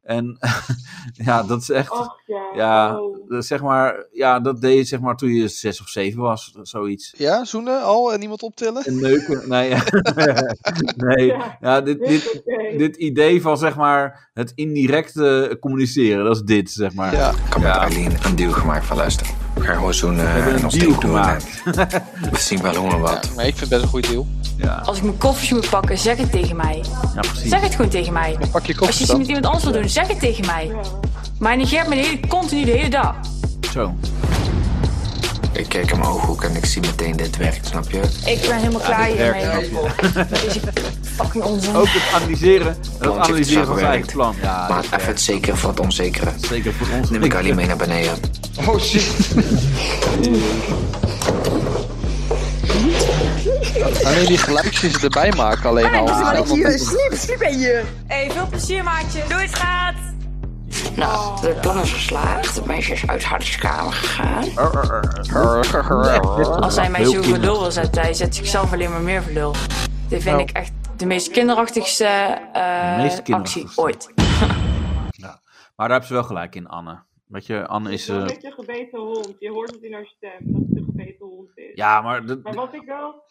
B: En ja, dat is echt.
I: Ach ja.
B: ja,
I: oh.
B: dat is zeg maar, ja, dat deed je zeg maar toen je zes of zeven was, zoiets.
C: Ja, zoenen al en iemand optillen.
B: En neuken. Nee, nee.
I: Ja,
B: Ja, dit,
I: dit
B: dit,
I: is oké.
B: dit idee van zeg maar het indirecte communiceren, dat is dit zeg maar.
C: Ja,
J: Ik had met Arlene een deal gemaakt van luister. We gaan gewoon zoenen
B: hebben
J: en
B: een
J: ons
B: deal
J: ding doen. En
B: gemaakt.
J: we zien wel hoe en wat.
C: maar ik vind het best een goed deal.
B: ja,
E: Als ik mijn koffertje moet pakken, zeg het tegen mij.
B: ja, precies.
E: Zeg het gewoon tegen mij.
C: Pak je
E: Als je
C: koffers
E: iets met
C: dan.
E: iemand anders wil doen, zeg het tegen mij.
I: Ja.
E: Maar negeert me de hele, continu de hele dag.
B: Zo.
J: Ik kijk in mijn ooghoek en ik zie meteen dit werkt, snap je?
E: Ik ben helemaal klaar hiermee.
B: werkt
E: Met deze fucking onzin.
B: Ook het analyseren, het
J: Plantje
B: analyseren van
J: zag
B: zijn
J: werkt.
B: eigen plan. Ja,
J: maar
B: dat
J: even het zekere voor het onzekere.
B: is zeker voor ons.
J: Neem ik Arlene mee naar beneden.
C: Oh shit. Ah, nee, die geluidjes erbij maken alleen al.
F: Sliep, sliep ben je.
E: Hey, veel plezier, maatje. Doei, schat.
F: Nou, het plan is geslaagd. Het meisje is uit Harry's kamer gegaan.
E: Als hij mij
B: Oh, Heel
E: zo voor
B: kinderachtig.
E: lul wil zetten, hij zet zichzelf alleen maar meer voor lul. Dit vind
C: Nou.
E: ik echt de meest kinderachtigste, eh,
B: De meest kinderachtigste.
E: actie ooit.
B: Maar daar hebben ze wel gelijk in, Anne. Weet je, Anne is.
I: Zo'n
B: eh,
I: beetje gebeten hond. Je hoort het in haar stem dat het een gebeten hond is.
B: ja, maar. dat-
I: Maar wat ik wel.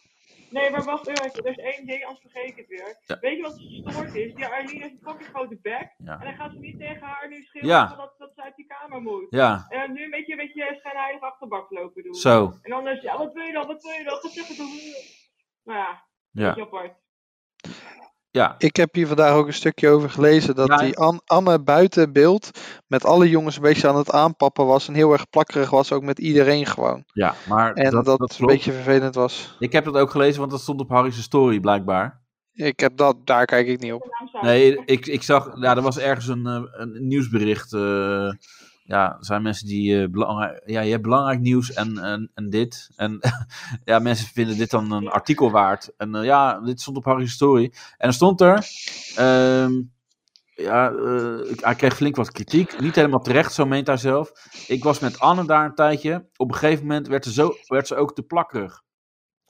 I: Nee, maar wacht even. Er is één ding, anders vergeet ik het weer.
B: Ja.
I: Weet je wat gestoord is? Die Arlene heeft een fucking grote bek.
B: Ja.
I: En dan gaat ze niet tegen haar nu schreeuwen
B: Ja.
I: dat, dat ze uit die kamer moet.
B: ja,
I: En dan nu een beetje, een beetje schijnheilig achterbak lopen doen.
B: zo.
I: En dan is ja, wat wil je dan? Wat wil je dan? Wat zeggen doen? Nou ja,
B: Ja,
I: beetje apart.
B: ja.
C: Ik heb hier vandaag ook een stukje over gelezen dat
B: Ja, hè?
C: die An- Anne buiten beeld met alle jongens een beetje aan het aanpappen was en heel erg plakkerig was, ook met iedereen gewoon.
B: ja maar
C: En dat,
B: klopt.
C: een beetje vervelend was.
B: Ik heb dat ook gelezen, want dat stond op Harry's story blijkbaar.
C: Ik heb dat, daar kijk ik niet op.
I: Naam staat.
B: Nee, ik, ik zag. Ja, er was ergens een, eh, een nieuwsbericht. eh, ja, er zijn mensen die. eh, belangrijk, ja, je hebt belangrijk nieuws en, en, en dit. En ja, mensen vinden dit dan een artikel waard. En eh, ja, dit stond op Harry's story. En er stond er. ehm, ja, eh, ik- hij kreeg flink wat kritiek. Niet helemaal terecht, zo meent hij zelf. Ik was met Anne daar een tijdje. Op een gegeven moment werd ze, zo, werd ze ook te plakkerig.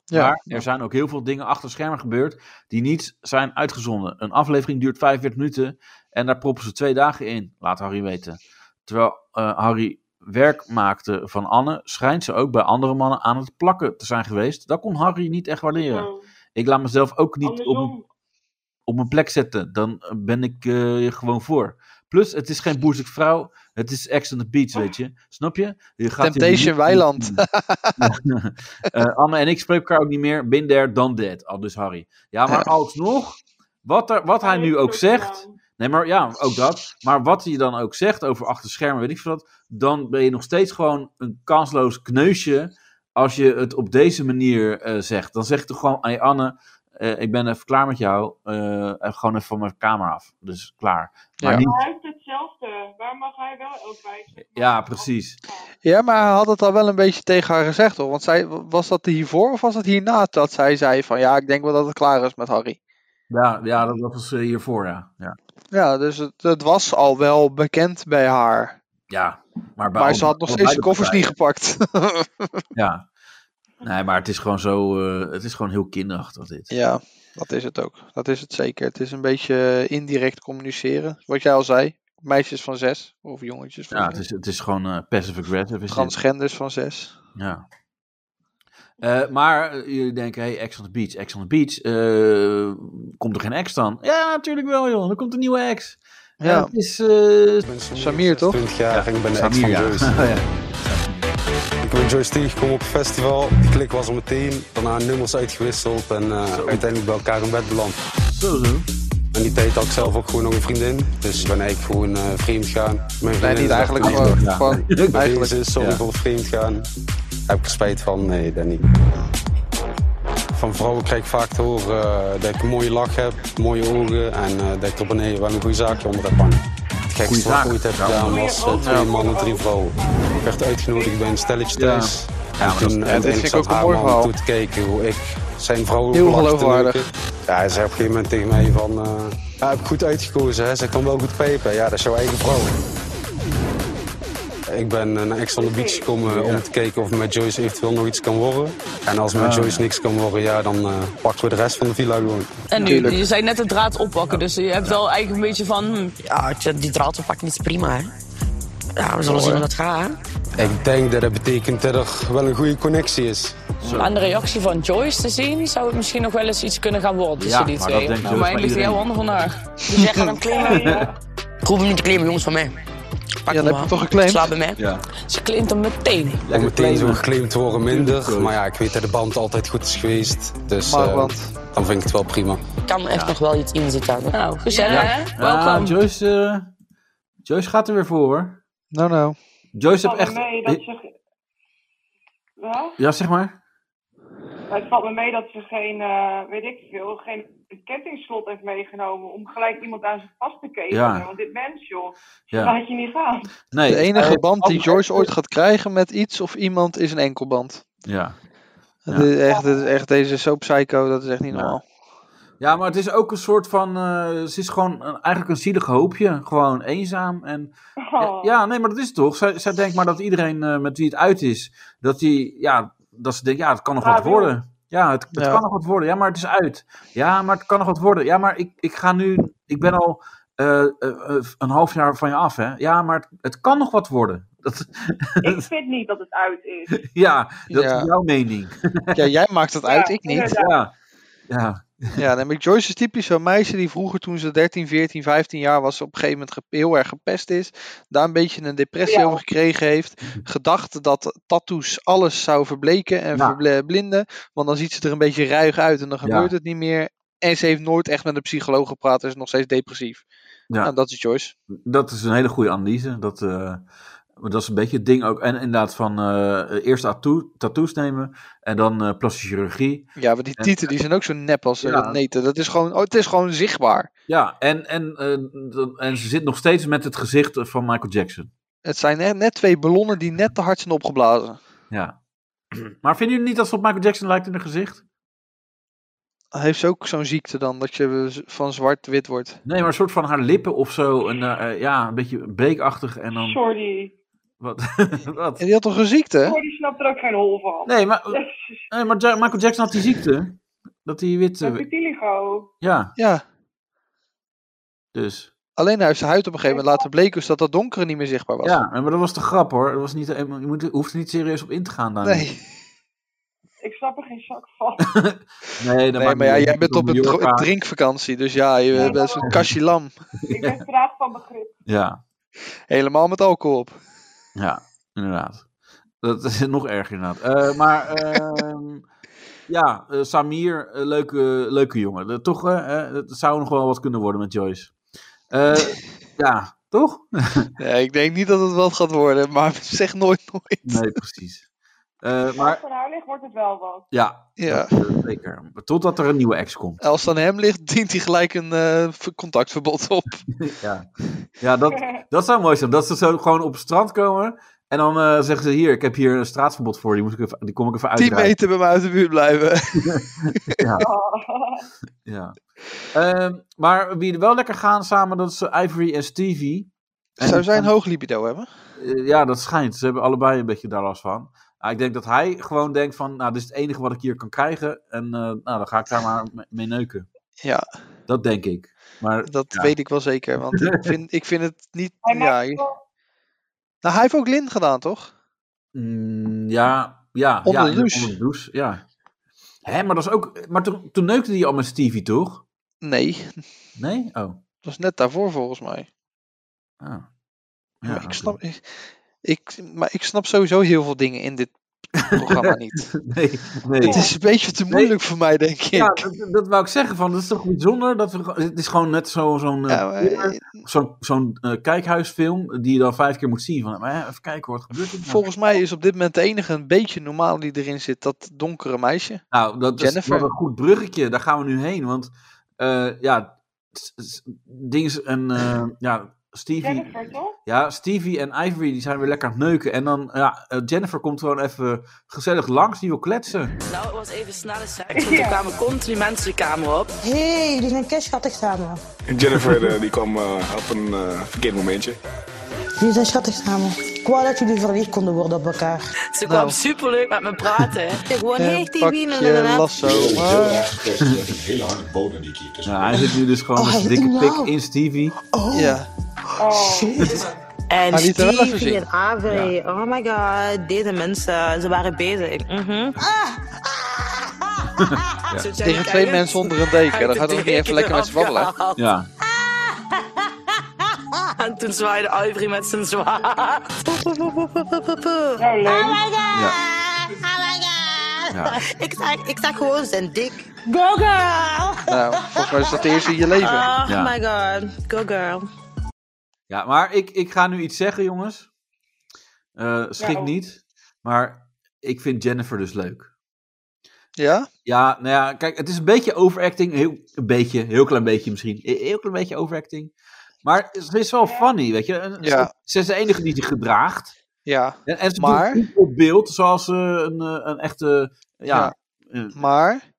C: Ja.
B: Maar er zijn ook heel veel dingen achter schermen gebeurd die niet zijn uitgezonden. Een aflevering duurt 45 minuten en daar proppen ze twee dagen in, laat Harry weten. Terwijl eh, Harry werk maakte van Anne, schijnt ze ook bij andere mannen aan het plakken te zijn geweest. Dat kon Harry niet echt waarderen.
I: Nou,
B: Ik laat mezelf ook niet op
I: andersom.
B: een, op een plek zetten. Dan eh, ben ik eh, je gewoon voor. Plus, het is geen boerse vrouw. Het is Ex on the Beach, weet je. Snap je? je gaat hier
C: Temptation
B: niet-
C: Weiland.
B: Eh, Anne en ik spreken elkaar ook niet meer. Bin there, done that. Al dus Harry. Ja, maar alsnog, wat, er, wat hij nu ook zegt... Nee, maar ja, ook dat. Maar wat hij dan ook zegt over achter schermen, weet ik veel wat. Dan ben je nog steeds gewoon een kansloos kneusje. Als je het op deze manier eh, zegt. Dan zeg je toch gewoon: hey Anne, eh, ik ben even klaar met jou. eh, en gewoon even van mijn kamer af. Dus klaar. Maar
C: Ja.
B: niet-
I: Hij heeft het zelf hetzelfde. Waar mag hij wel elk wijzen?
B: Ja, precies.
C: Ja, maar hij had het al wel een beetje tegen haar gezegd, hoor. Want zij, was dat hiervoor of was dat hierna dat zij zei van... Ja, ik denk wel dat het klaar is met Harry.
B: Ja, ja dat dat was eh, hiervoor, ja. Ja,
C: Ja, dus het, het was al wel bekend bij haar.
B: ja maar, bij
C: Maar
B: al-
C: ze had nog
B: al
C: steeds de
B: beide
C: koffers niet
B: partijen.
C: gepakt.
B: Ja. Nee, maar het is gewoon zo... eh, het is gewoon heel kinderachtig, dit.
C: ja, dat is het ook. Dat is het zeker. Het is een beetje indirect communiceren. Wat jij al zei. Meisjes van zes. Of jongetjes van
B: Ja, het
C: zes.
B: is, het is gewoon eh, passive-aggressive. is dit.
C: Transgenders van zes.
B: Ja. Eh, maar eh, jullie denken, hey, Ex on the Beach, Ex on the Beach. eh, komt er geen ex dan? Ja, natuurlijk wel, joh. Er komt een nieuwe ex. Ja.
C: Ja.
B: het is... eh,
C: Samir, toch?
K: 20 jaar en ik ben de ex
B: Samir,
K: van
B: ja.
K: Joyce.
B: Ja.
K: Ik ben Joyce tegengekomen op het festival. De klik was er meteen. Daarna nummers uitgewisseld en eh, uiteindelijk bij elkaar in bed beland.
B: Zo, zo.
K: En die tijd had ik zelf ook gewoon nog een vriendin. Dus ik ben eigenlijk gewoon eh, vreemd gaan. Mijn vriendin
C: niet
K: is
C: eigenlijk,
K: echt
C: gewoon-
K: liefde.
C: gewoon-
K: Bij deze,
C: eigenlijk.
K: sorry
C: Ja.
K: voor het vreemd gaan. Heb ik er spijt van? Nee, dat niet. Van vrouwen krijg ik vaak te horen eh, dat ik een mooie lach heb, mooie ogen en eh, dat ik er beneden wel een goede zaakje onder heb hangen. Het
B: Goeie
K: gekste wat
B: zaak.
K: ik ooit heb
B: Ja.
K: gedaan was eh, twee mannen, drie vrouwen. Ik werd uitgenodigd bij een stelletje
B: Ja.
K: thuis.
B: Ja, maar
K: en
B: dat-
K: toen
B: ja,
K: en
C: dit
K: ik
C: vind ik
K: zat
C: ook een
K: haar
C: mooi
K: man
C: verhaal.
K: toe te kijken hoe ik zijn vrouw
C: Heel
K: lag te
C: geloofwaardig.
K: neuken. Ja, hij zei op een gegeven moment tegen mij van... eh, ja, heb ik goed uitgekozen, hè? Ze kan wel goed pepen. Ja, dat is jouw eigen vrouw. Ik ben eh, naar Ex on the Beach gekomen eh, om te kijken of met Joyce eventueel nog iets kan worden. En als met
B: Ah.
K: Joyce niks kan worden, ja, dan eh, pakken we de rest van de villa gewoon.
F: En nu,
C: Tuurlijk.
F: je zei net de draad oppakken, dus je hebt wel eigenlijk een beetje van... hm, Ja, tja, die draad oppakken is prima, hè. Ja, we zullen zien hoe dat gaat, hè.
K: Ik denk dat dat betekent dat er wel een goede connectie is.
F: Aan de reactie van Joyce te zien, zou het misschien nog wel eens iets kunnen gaan worden tussen
B: Ja,
F: die
B: maar
F: twee. Nou,
B: dat dus denkt
F: maar
B: Joyce
F: eigenlijk ligt
B: maar
F: heel handig van haar. Die zeggen dan claimen. Ik hoef hem niet te claimen, jongens, van mij.
C: Ja, dat
F: Pak hem
C: heb
F: maar.
C: je toch geclaimd?
F: Slaap bij mij.
B: Ja.
F: Ze claimt hem
K: Om
F: meteen.
K: meteen zo
B: claimen.
K: geclaimd te worden minder. Maar ja, ik weet dat de band altijd goed is geweest. Dus
C: Maar
K: eh,
C: want-
K: dan vind ik het wel prima.
F: Kan echt nog wel iets in zitten. Nou,
E: Oh,
F: gezellig, hè?
B: Ah,
F: Welkom.
B: Joyce, eh, Joyce gaat er weer voor, hoor.
C: Nou, nou.
B: Joyce
I: valt
B: heeft echt...
I: me mee Oh, dat ze... Wel?
B: Ja, zeg maar.
I: Het valt me mee dat ze geen, eh, weet ik veel, geen kettingslot heeft meegenomen om gelijk iemand aan zich vast te ketenen.
B: Ja.
I: Want dit mens, joh,
B: Ja.
I: laat je niet gaan.
B: Nee.
C: De enige
B: eh,
C: band die
B: oh,
C: Joyce ooit gaat krijgen met iets of iemand is een enkelband.
B: Ja. Ja.
C: Dit is echt, dit is echt, deze is zo psycho, dat is echt niet
B: Ja.
C: normaal.
B: Ja, maar het is ook een soort van. eh, ze is gewoon een- eigenlijk een zielig hoopje. Gewoon eenzaam. En,
I: Oh.
B: Ja, nee, maar dat is het toch. Zij, zij denkt maar dat iedereen eh, met wie het uit is, dat, die, ja, dat ze denkt, ja, het kan nog wat
I: Ah,
B: worden. Ja, het, het
C: Ja.
B: kan nog wat worden. Ja, maar het is uit. Ja, maar het kan nog wat worden. Ja, maar ik, ik ga nu. Ik ben al eh, eh, eh, een half jaar van je af, hè? Ja, maar het, het kan nog wat worden. Dat,
I: Ik vind niet dat het uit is.
B: ja, dat
C: Ja.
B: is jouw mening.
C: Ja, jij maakt het uit,
I: Ja,
C: ik niet.
I: inderdaad.
B: Ja. Ja.
C: Ja, nee, maar Joyce is typisch zo'n meisje die vroeger toen ze 13, 14, 15 jaar was, op een gegeven moment ge- heel erg gepest is. Daar een beetje een depressie
I: Ja.
C: over gekregen heeft. Gedacht dat tattoos alles zou verbleken en
B: Ja.
C: verblinden. Want dan ziet ze er een beetje ruig uit en dan
B: Nou. Ja.
C: gebeurt het niet meer. En ze heeft nooit echt met een psycholoog gepraat en is nog steeds depressief.
B: Ja.
C: Nou, dat is Joyce.
B: Dat is een hele goede analyse. Dat, eh, dat is een beetje het ding ook. En inderdaad, van eh, eerst tattoo, tattoos nemen en dan eh plastische chirurgie.
C: Ja, want die
B: En-
C: tieten die zijn ook zo nep als ze
B: Ja.
C: dat neten. Dat is gewoon, oh, het is gewoon zichtbaar.
B: Ja, en, en, eh, dat- en ze zit nog steeds met het gezicht eh, van Michael Jackson.
C: Het zijn net, net twee ballonnen die net te hard zijn opgeblazen.
B: Ja. Maar vinden jullie niet dat ze op Michael Jackson lijkt in haar gezicht?
C: Heeft ze ook zo'n ziekte dan, dat je z- van zwart-wit wordt?
B: Nee, maar een soort van haar lippen of zo. En, eh, eh, ja, een beetje beekachtig en dan...
I: Jordi.
B: Wat? wat?
C: En die had toch een ziekte?
I: Jordi snapt er ook geen hol van.
B: Nee, maar, eh,
I: Jezus,
B: nee, maar Ja- Michael Jackson had die ziekte. Dat hij wit...
I: dat
B: eh,
I: vitiligo.
B: ja,
C: Ja.
B: dus...
C: Alleen hij heeft zijn huid op een gegeven moment laten bleken, dus dat dat donkere niet meer zichtbaar was.
B: Ja, en maar dat was de grap hoor. Dat was niet, eh, je moet, je hoeft er niet serieus op in te gaan. Dan.
C: Nee,
I: Ik snap er geen zak van.
B: nee, dat
C: nee
B: maakt
C: maar
B: niet
C: ja,
B: uit.
C: jij bent op een dro-
B: Mallorca.
C: een drinkvakantie, dus ja, je
I: Ja.
C: bent zo'n kastje lam.
I: Ik ben straat van begrip.
B: Ja,
C: Helemaal met alcohol op.
B: ja, inderdaad. Dat is nog erger inderdaad. Eh, maar ehm, ja, eh, Samir, eh, leuke, leuke jongen. Dat- toch, eh, eh, het zou nog wel wat kunnen worden met Joyce. Eh, ja, toch?
C: Nee, ik denk niet dat het wat gaat worden, maar zeg nooit nooit.
B: Nee, precies. Eh,
I: Als
B: maar
I: het aan haar ligt, wordt het wel wat.
B: ja,
C: Ja.
B: dat, eh, zeker. Maar Totdat er een nieuwe ex komt.
C: Als het aan hem ligt, dient hij gelijk een eh, ver- contactverbod op.
B: ja, ja dat, dat zou mooi zijn. Dat ze zo gewoon op het strand komen en dan eh, zeggen ze hier, ik heb hier een straatverbod voor, die, moet ik even, die kom ik even
C: 10
B: uitdraaien.
C: meter bij mij uit de buurt blijven.
B: Ja. Ja. Ehm, maar wie er wel lekker gaan samen, dat is eh, Ivory en Stevie. En-
C: Zou zij een hoog libido hebben?
B: Eh, ja, dat schijnt. Ze hebben allebei een beetje daar last van. Ah, ik denk dat hij gewoon denkt van, nou, dit is het enige wat ik hier kan krijgen. En eh, nou, dan ga ik daar maar me- mee neuken.
C: Ja,
B: Dat denk ik. Maar
C: dat
B: ja.
C: weet ik wel zeker. Want ik vind, ik vind het niet... Ja, je-
I: wel-
C: nou, hij heeft ook Lin gedaan, toch?
B: Mm, ja, ja.
C: Onder
B: ja,
C: de douche.
B: onder douche, ja. Hè, maar dat is ook... Maar toen, toen neukte hij al met Stevie, toch?
C: Nee,
B: Nee? Oh.
C: dat is net daarvoor volgens mij.
B: Ah.
C: Maar
B: Ja,
C: ik snap, ik, ik- maar ik snap sowieso heel veel dingen in dit programma niet.
B: Nee, nee.
C: Het is een beetje te moeilijk voor mij, denk ik.
B: Ja, dat, dat wou ik zeggen. Van, dat is toch bijzonder? Dat we, gewoon- het is gewoon net zo- zo'n eh,
C: Ja, maar-
B: thriller, zo'n zo'n, eh, kijkhuisfilm die je dan vijf keer moet zien. Van, maar, ja, even kijken, wat gebeurt er nou?
C: Volgens mij is op dit moment de enige een beetje normaal die erin zit dat donkere meisje.
B: Nou, dat is
C: Jennifer.
B: wel een goed bruggetje. Daar gaan we nu heen. Want eh, ja, s- s- Dings en eh, ja, Stevie.
I: Jennifer, toch?
B: Ja, Stevie en Ivory die zijn weer lekker aan het neuken. En dan, ja, eh, Jennifer komt gewoon even gezellig langs. Die wil kletsen.
L: Nou, het was even snelle seks, want er kwamen continu mensen de kamer op.
F: Hé, hey, die zijn kei schattig samen.
M: Jennifer eh, die kwam eh, op een eh, verkeerd momentje.
F: Jullie zijn schattig samen. Ik wou dat jullie verliefd konden worden op elkaar.
B: Nou.
L: Ze kwam superleuk met me praten. Ik woon
C: Eh, lasso.
B: Oh.
A: hele harde boter die ik hier tussen.
B: Nou, hij zit nu dus gewoon met zijn dikke pik in Stevie.
C: Ja.
L: En
B: Hij liet er wel even
L: Stevie
B: zien.
L: en Avery, oh my god, deze mensen, ze waren bezig. Mhm. Zo zijn
C: Tegen
L: de
C: twee
L: keien
C: mensen onder een deken.
L: uit
C: Dan
L: de
C: gaat het ook niet even
L: deken
C: lekker met z'n babbelen.
L: afgehaald.
B: Ja.
L: En toen zwaaide Ivory met zijn zwaard.
I: Oh
L: my god!
B: Ja.
L: Oh my god!
B: Ja.
L: Ik, zag, ik zag gewoon zijn dik. Go girl!
C: Nou, volgens mij is dat de eerste in je leven.
L: Oh
B: Ja.
L: my god, go girl.
B: Ja, maar ik, ik ga nu iets zeggen, jongens. Eh schrik
C: Nou.
B: niet. Maar ik vind Jennifer dus leuk.
C: Ja?
B: Ja, nou ja, kijk, het is een beetje overacting. Heel, een beetje, heel klein beetje misschien. Een heel klein beetje overacting. Maar ze is wel funny, weet je. En
C: Ja.
B: ze- Ze is de enige die zich gedraagt.
C: Ja.
B: En, en ze
C: Maar-
B: doet goed op beeld, zoals eh, een, eh, een echte... Ja,
C: Maar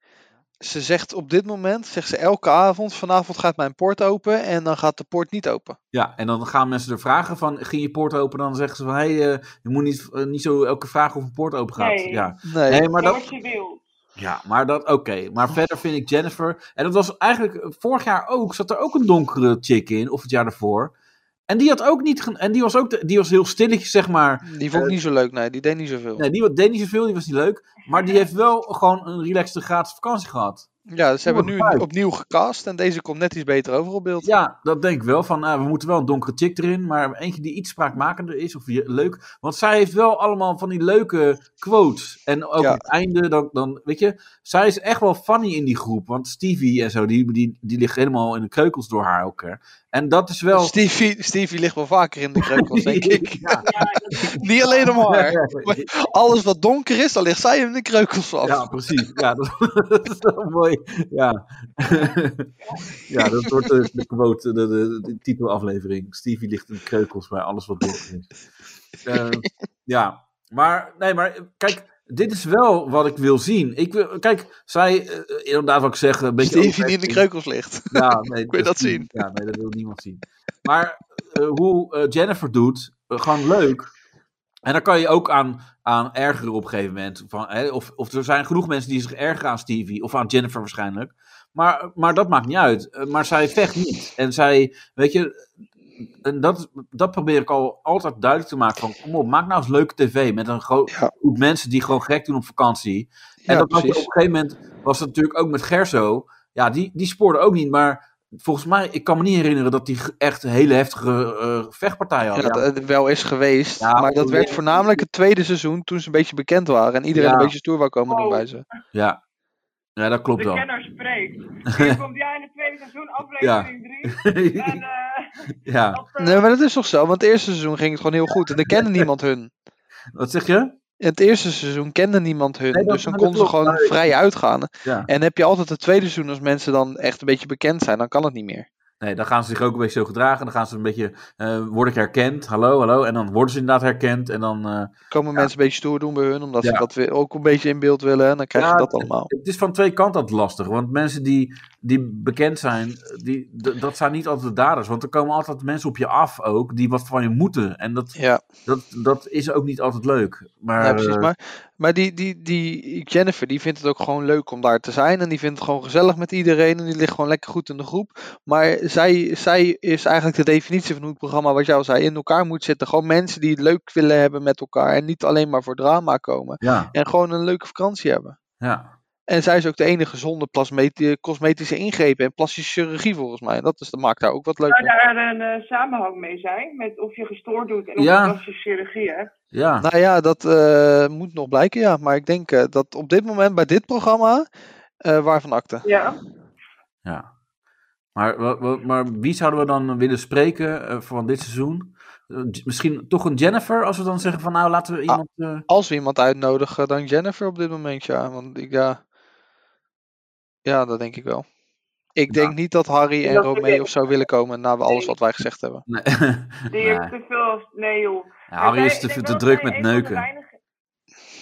C: ze zegt op dit moment, zegt ze elke avond, vanavond gaat mijn poort open en dan gaat de poort niet open.
B: Ja, en dan gaan mensen er vragen van, ging je poort open? Dan zeggen ze van, hé, hey, eh, je moet niet, eh, niet zo elke vraag of een poort open gaat.
I: Nee.
B: Ja.
C: Nee.
B: maar
I: Doe
B: dat,
I: wat je wil.
B: ja, maar dat, oké. Maar verder vind ik Jennifer, en dat was eigenlijk eh, vorig jaar ook, zat er ook een donkere chick in, of het jaar daarvoor. En die had ook niet, gen- en die was ook, de- die was heel stilletjes, zeg maar.
C: Die vond ik niet zo leuk, nee, die deed niet zoveel.
B: eh, Nee, die deed niet zoveel, die was niet leuk. Maar die heeft wel gewoon een relaxte gratis vakantie gehad.
C: Ja, dus ze hebben nu
B: Vijf.
C: opnieuw gecast en deze komt net iets beter over op beeld.
B: Ja, dat denk ik wel. Van, ah, we moeten wel een donkere chick erin, maar eentje die iets spraakmakender is of je- leuk. Want zij heeft wel allemaal van die leuke quotes. En ook
C: Ja.
B: op het einde, dan, dan, weet je, zij is echt wel funny in die groep. Want Stevie en zo, die, die, die ligt helemaal in de kreukels door haar ook. hè. En dat is wel...
C: Stevie, Stevie ligt wel vaker in de kreukels, denk ik.
B: Ja.
C: Niet alleen om haar. Maar alles wat donker is, dan ligt zij in de kreukels van.
B: Ja, precies. Ja, dat, dat is wel mooi. Ja, ja dat wordt de, de quote, de, de, de titelaflevering. Stevie ligt in de kreukels bij alles wat donker is. Eh, ja, maar, nee, maar kijk, dit is wel wat ik wil zien. Ik wil, kijk, zij, eh, inderdaad wat ik zeg, een beetje...
C: Stevie die in de
B: overacting.
C: kreukels ligt.
B: Ja, nee,
C: Kun je dat zien?
B: Ja, nee, dat wil niemand zien. Maar eh, hoe eh, Jennifer doet, eh, gewoon leuk. En dan kan je ook aan, aan ergeren op een gegeven moment. Van, hè, of, of er zijn genoeg mensen die zich ergeren aan Stevie, of aan Jennifer waarschijnlijk. Maar, maar dat maakt niet uit. Eh, maar zij vecht niet. En zij, weet je, en dat, dat probeer ik al altijd duidelijk te maken. Van, kom op, maak nou eens leuke tv met een groot groep mensen die gewoon gek doen op vakantie. En
C: Ja,
B: dat was op een
C: precies.
B: gegeven moment was het natuurlijk ook met Gerso. Ja, die, die spoorde ook niet, maar volgens mij, ik kan me niet herinneren dat die ge- echt een hele heftige eh, vechtpartij had.
C: Ja, dat het wel is geweest.
B: Ja,
C: maar dat
B: hoe-
C: werd voornamelijk het tweede seizoen toen ze een beetje bekend waren. En iedereen
B: Ja.
C: een beetje stoer wou komen doen bij ze.
B: Ja. Ja, dat klopt
I: De
B: wel.
I: kenner spreekt. Hier komt jij in het tweede seizoen, aflevering 3. En eh,
B: Ja.
C: Nee, maar dat is toch zo? Want het eerste seizoen ging het gewoon heel goed. En er kende niemand hun.
B: Wat zeg je?
C: in het eerste seizoen kende niemand hun.
B: Nee, dat-
C: dus dan
B: maar dat
C: konden ze
B: klopt,
C: gewoon
B: maar-
C: vrij uitgaan.
B: Ja.
C: En heb je altijd het tweede seizoen, als mensen dan echt een beetje bekend zijn, dan kan het niet meer.
B: Nee, dan gaan ze zich ook een beetje zo gedragen. Dan gaan ze een beetje, eh, word ik herkend? Hallo, hallo. En dan worden ze inderdaad herkend. En dan, eh,
C: Komen mensen een beetje stoer doen bij hun, omdat
B: Ja.
C: ze dat weer ook een beetje in beeld willen. En dan krijg
B: Ja,
C: je dat allemaal.
B: het is van twee kanten altijd lastig. Want mensen die, die bekend zijn, die, d- dat zijn niet altijd de daders. Want er komen altijd mensen op je af ook, die wat van je moeten. En dat,
C: Ja.
B: dat, dat is ook niet altijd leuk. Maar,
C: ja, precies.
B: eh,
C: Maar, maar die, die, die Jennifer, die vindt het ook gewoon leuk om daar te zijn. En die vindt het gewoon gezellig met iedereen. En die ligt gewoon lekker goed in de groep. Maar zij, zij is eigenlijk de definitie van hoe het programma, wat jij al zei, in elkaar moet zitten. Gewoon mensen die het leuk willen hebben met elkaar. En niet alleen maar voor drama komen.
B: Ja.
C: En gewoon een leuke vakantie hebben.
B: ja.
C: En zij is ook de enige zonder plasmeti- cosmetische ingrepen en plastische chirurgie volgens mij. Dat, is, dat maakt haar ook wat
I: Zou
C: leuker.
I: daar een eh, samenhang mee zijn? Met of je gestoord doet en of
C: Ja.
I: je plastische chirurgie hebt?
B: Ja.
C: Nou ja, dat eh, moet nog blijken, ja. Maar ik denk eh, dat op dit moment bij dit programma, eh, waarvan acte?
I: Ja.
B: Ja. Maar, wa- wa- maar wie zouden we dan willen spreken eh, van dit seizoen? Eh, J- misschien toch een Jennifer, als we dan zeggen van nou laten
I: Ah.
B: we iemand... eh,
C: Als we iemand uitnodigen, dan Jennifer op dit moment, ja. Want ik, ja, ja dat denk ik wel. Ik denk niet dat Harry en
I: Dat-
C: Romeo of zo willen komen na alles wat wij gezegd hebben.
I: Die heeft te veel. Nee, joh.
C: Ja,
I: Maar
C: Harry
I: zij-
C: is te-
I: ik denk
C: te
I: wel
C: druk
I: dat zij
C: met
I: een van de
C: neuken.
I: weinige-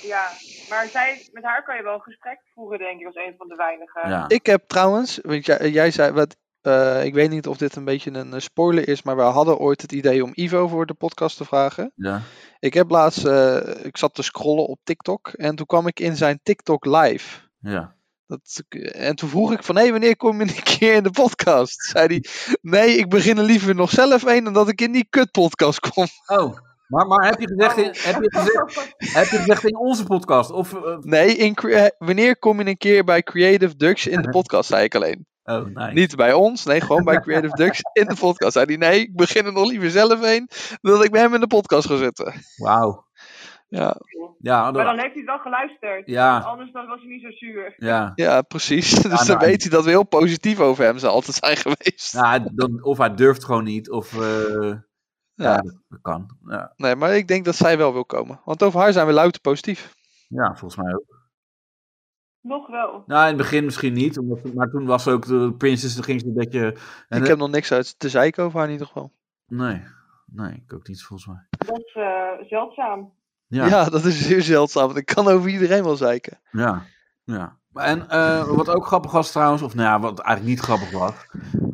I: Ja, maar zij, met haar kan je wel een gesprek voeren, denk ik, als een van de weinigen.
C: Ik heb trouwens, want jij, jij zei wat. eh, ik weet niet of dit een beetje een eh, spoiler is, maar we hadden ooit het idee om Ivo voor de podcast te vragen.
B: Ja.
C: Ik heb laatst, eh, ik zat te scrollen op TikTok en toen kwam ik in zijn TikTok live.
B: Ja.
C: Dat, en toen vroeg ik van, hé, wanneer kom je een keer in de podcast? Zei hij, nee, ik begin er liever nog zelf een dan dat ik in die kutpodcast kom.
B: Oh, maar, maar heb, je gezegd in, heb, je gezegd, heb je gezegd in onze podcast? Of, eh,
C: Nee, in, cre- eh, wanneer kom je een keer bij Creative Dux in de podcast, zei ik alleen.
B: Oh, nice.
C: Niet bij ons, nee, gewoon bij Creative Dux in de podcast. Zei hij, nee, ik begin er nog liever zelf een dan dat ik bij hem in de podcast ga zitten.
B: Wauw.
C: Ja.
B: Ja,
I: Maar dan heeft hij het wel geluisterd.
C: Ja.
I: Anders dan was hij niet zo zuur.
B: Ja.
C: ja, precies. Dus dan
B: nou,
C: weet hij dat we heel positief over hem zijn altijd zijn geweest.
B: nou, dan, of hij durft gewoon niet, of... eh, ja, dat- dat kan. Ja.
C: Nee, maar ik denk dat zij wel wil komen. Want over haar zijn we louter positief.
B: ja, volgens mij ook.
I: Nog wel.
B: Nou, in het begin misschien niet, omdat, maar toen was ook de Princess, dan ging ze een beetje... en-
C: ik heb nog niks uit te zeiken over haar in ieder geval.
B: Nee, nee, ik ook niet, volgens mij.
I: Dat is eh, zeldzaam.
B: Ja.
C: Ja. dat is zeer zeldzaam. Want ik kan over iedereen wel zeiken.
B: Ja, ja. Maar En eh, wat ook grappig was trouwens, of nou ja, wat eigenlijk niet grappig was.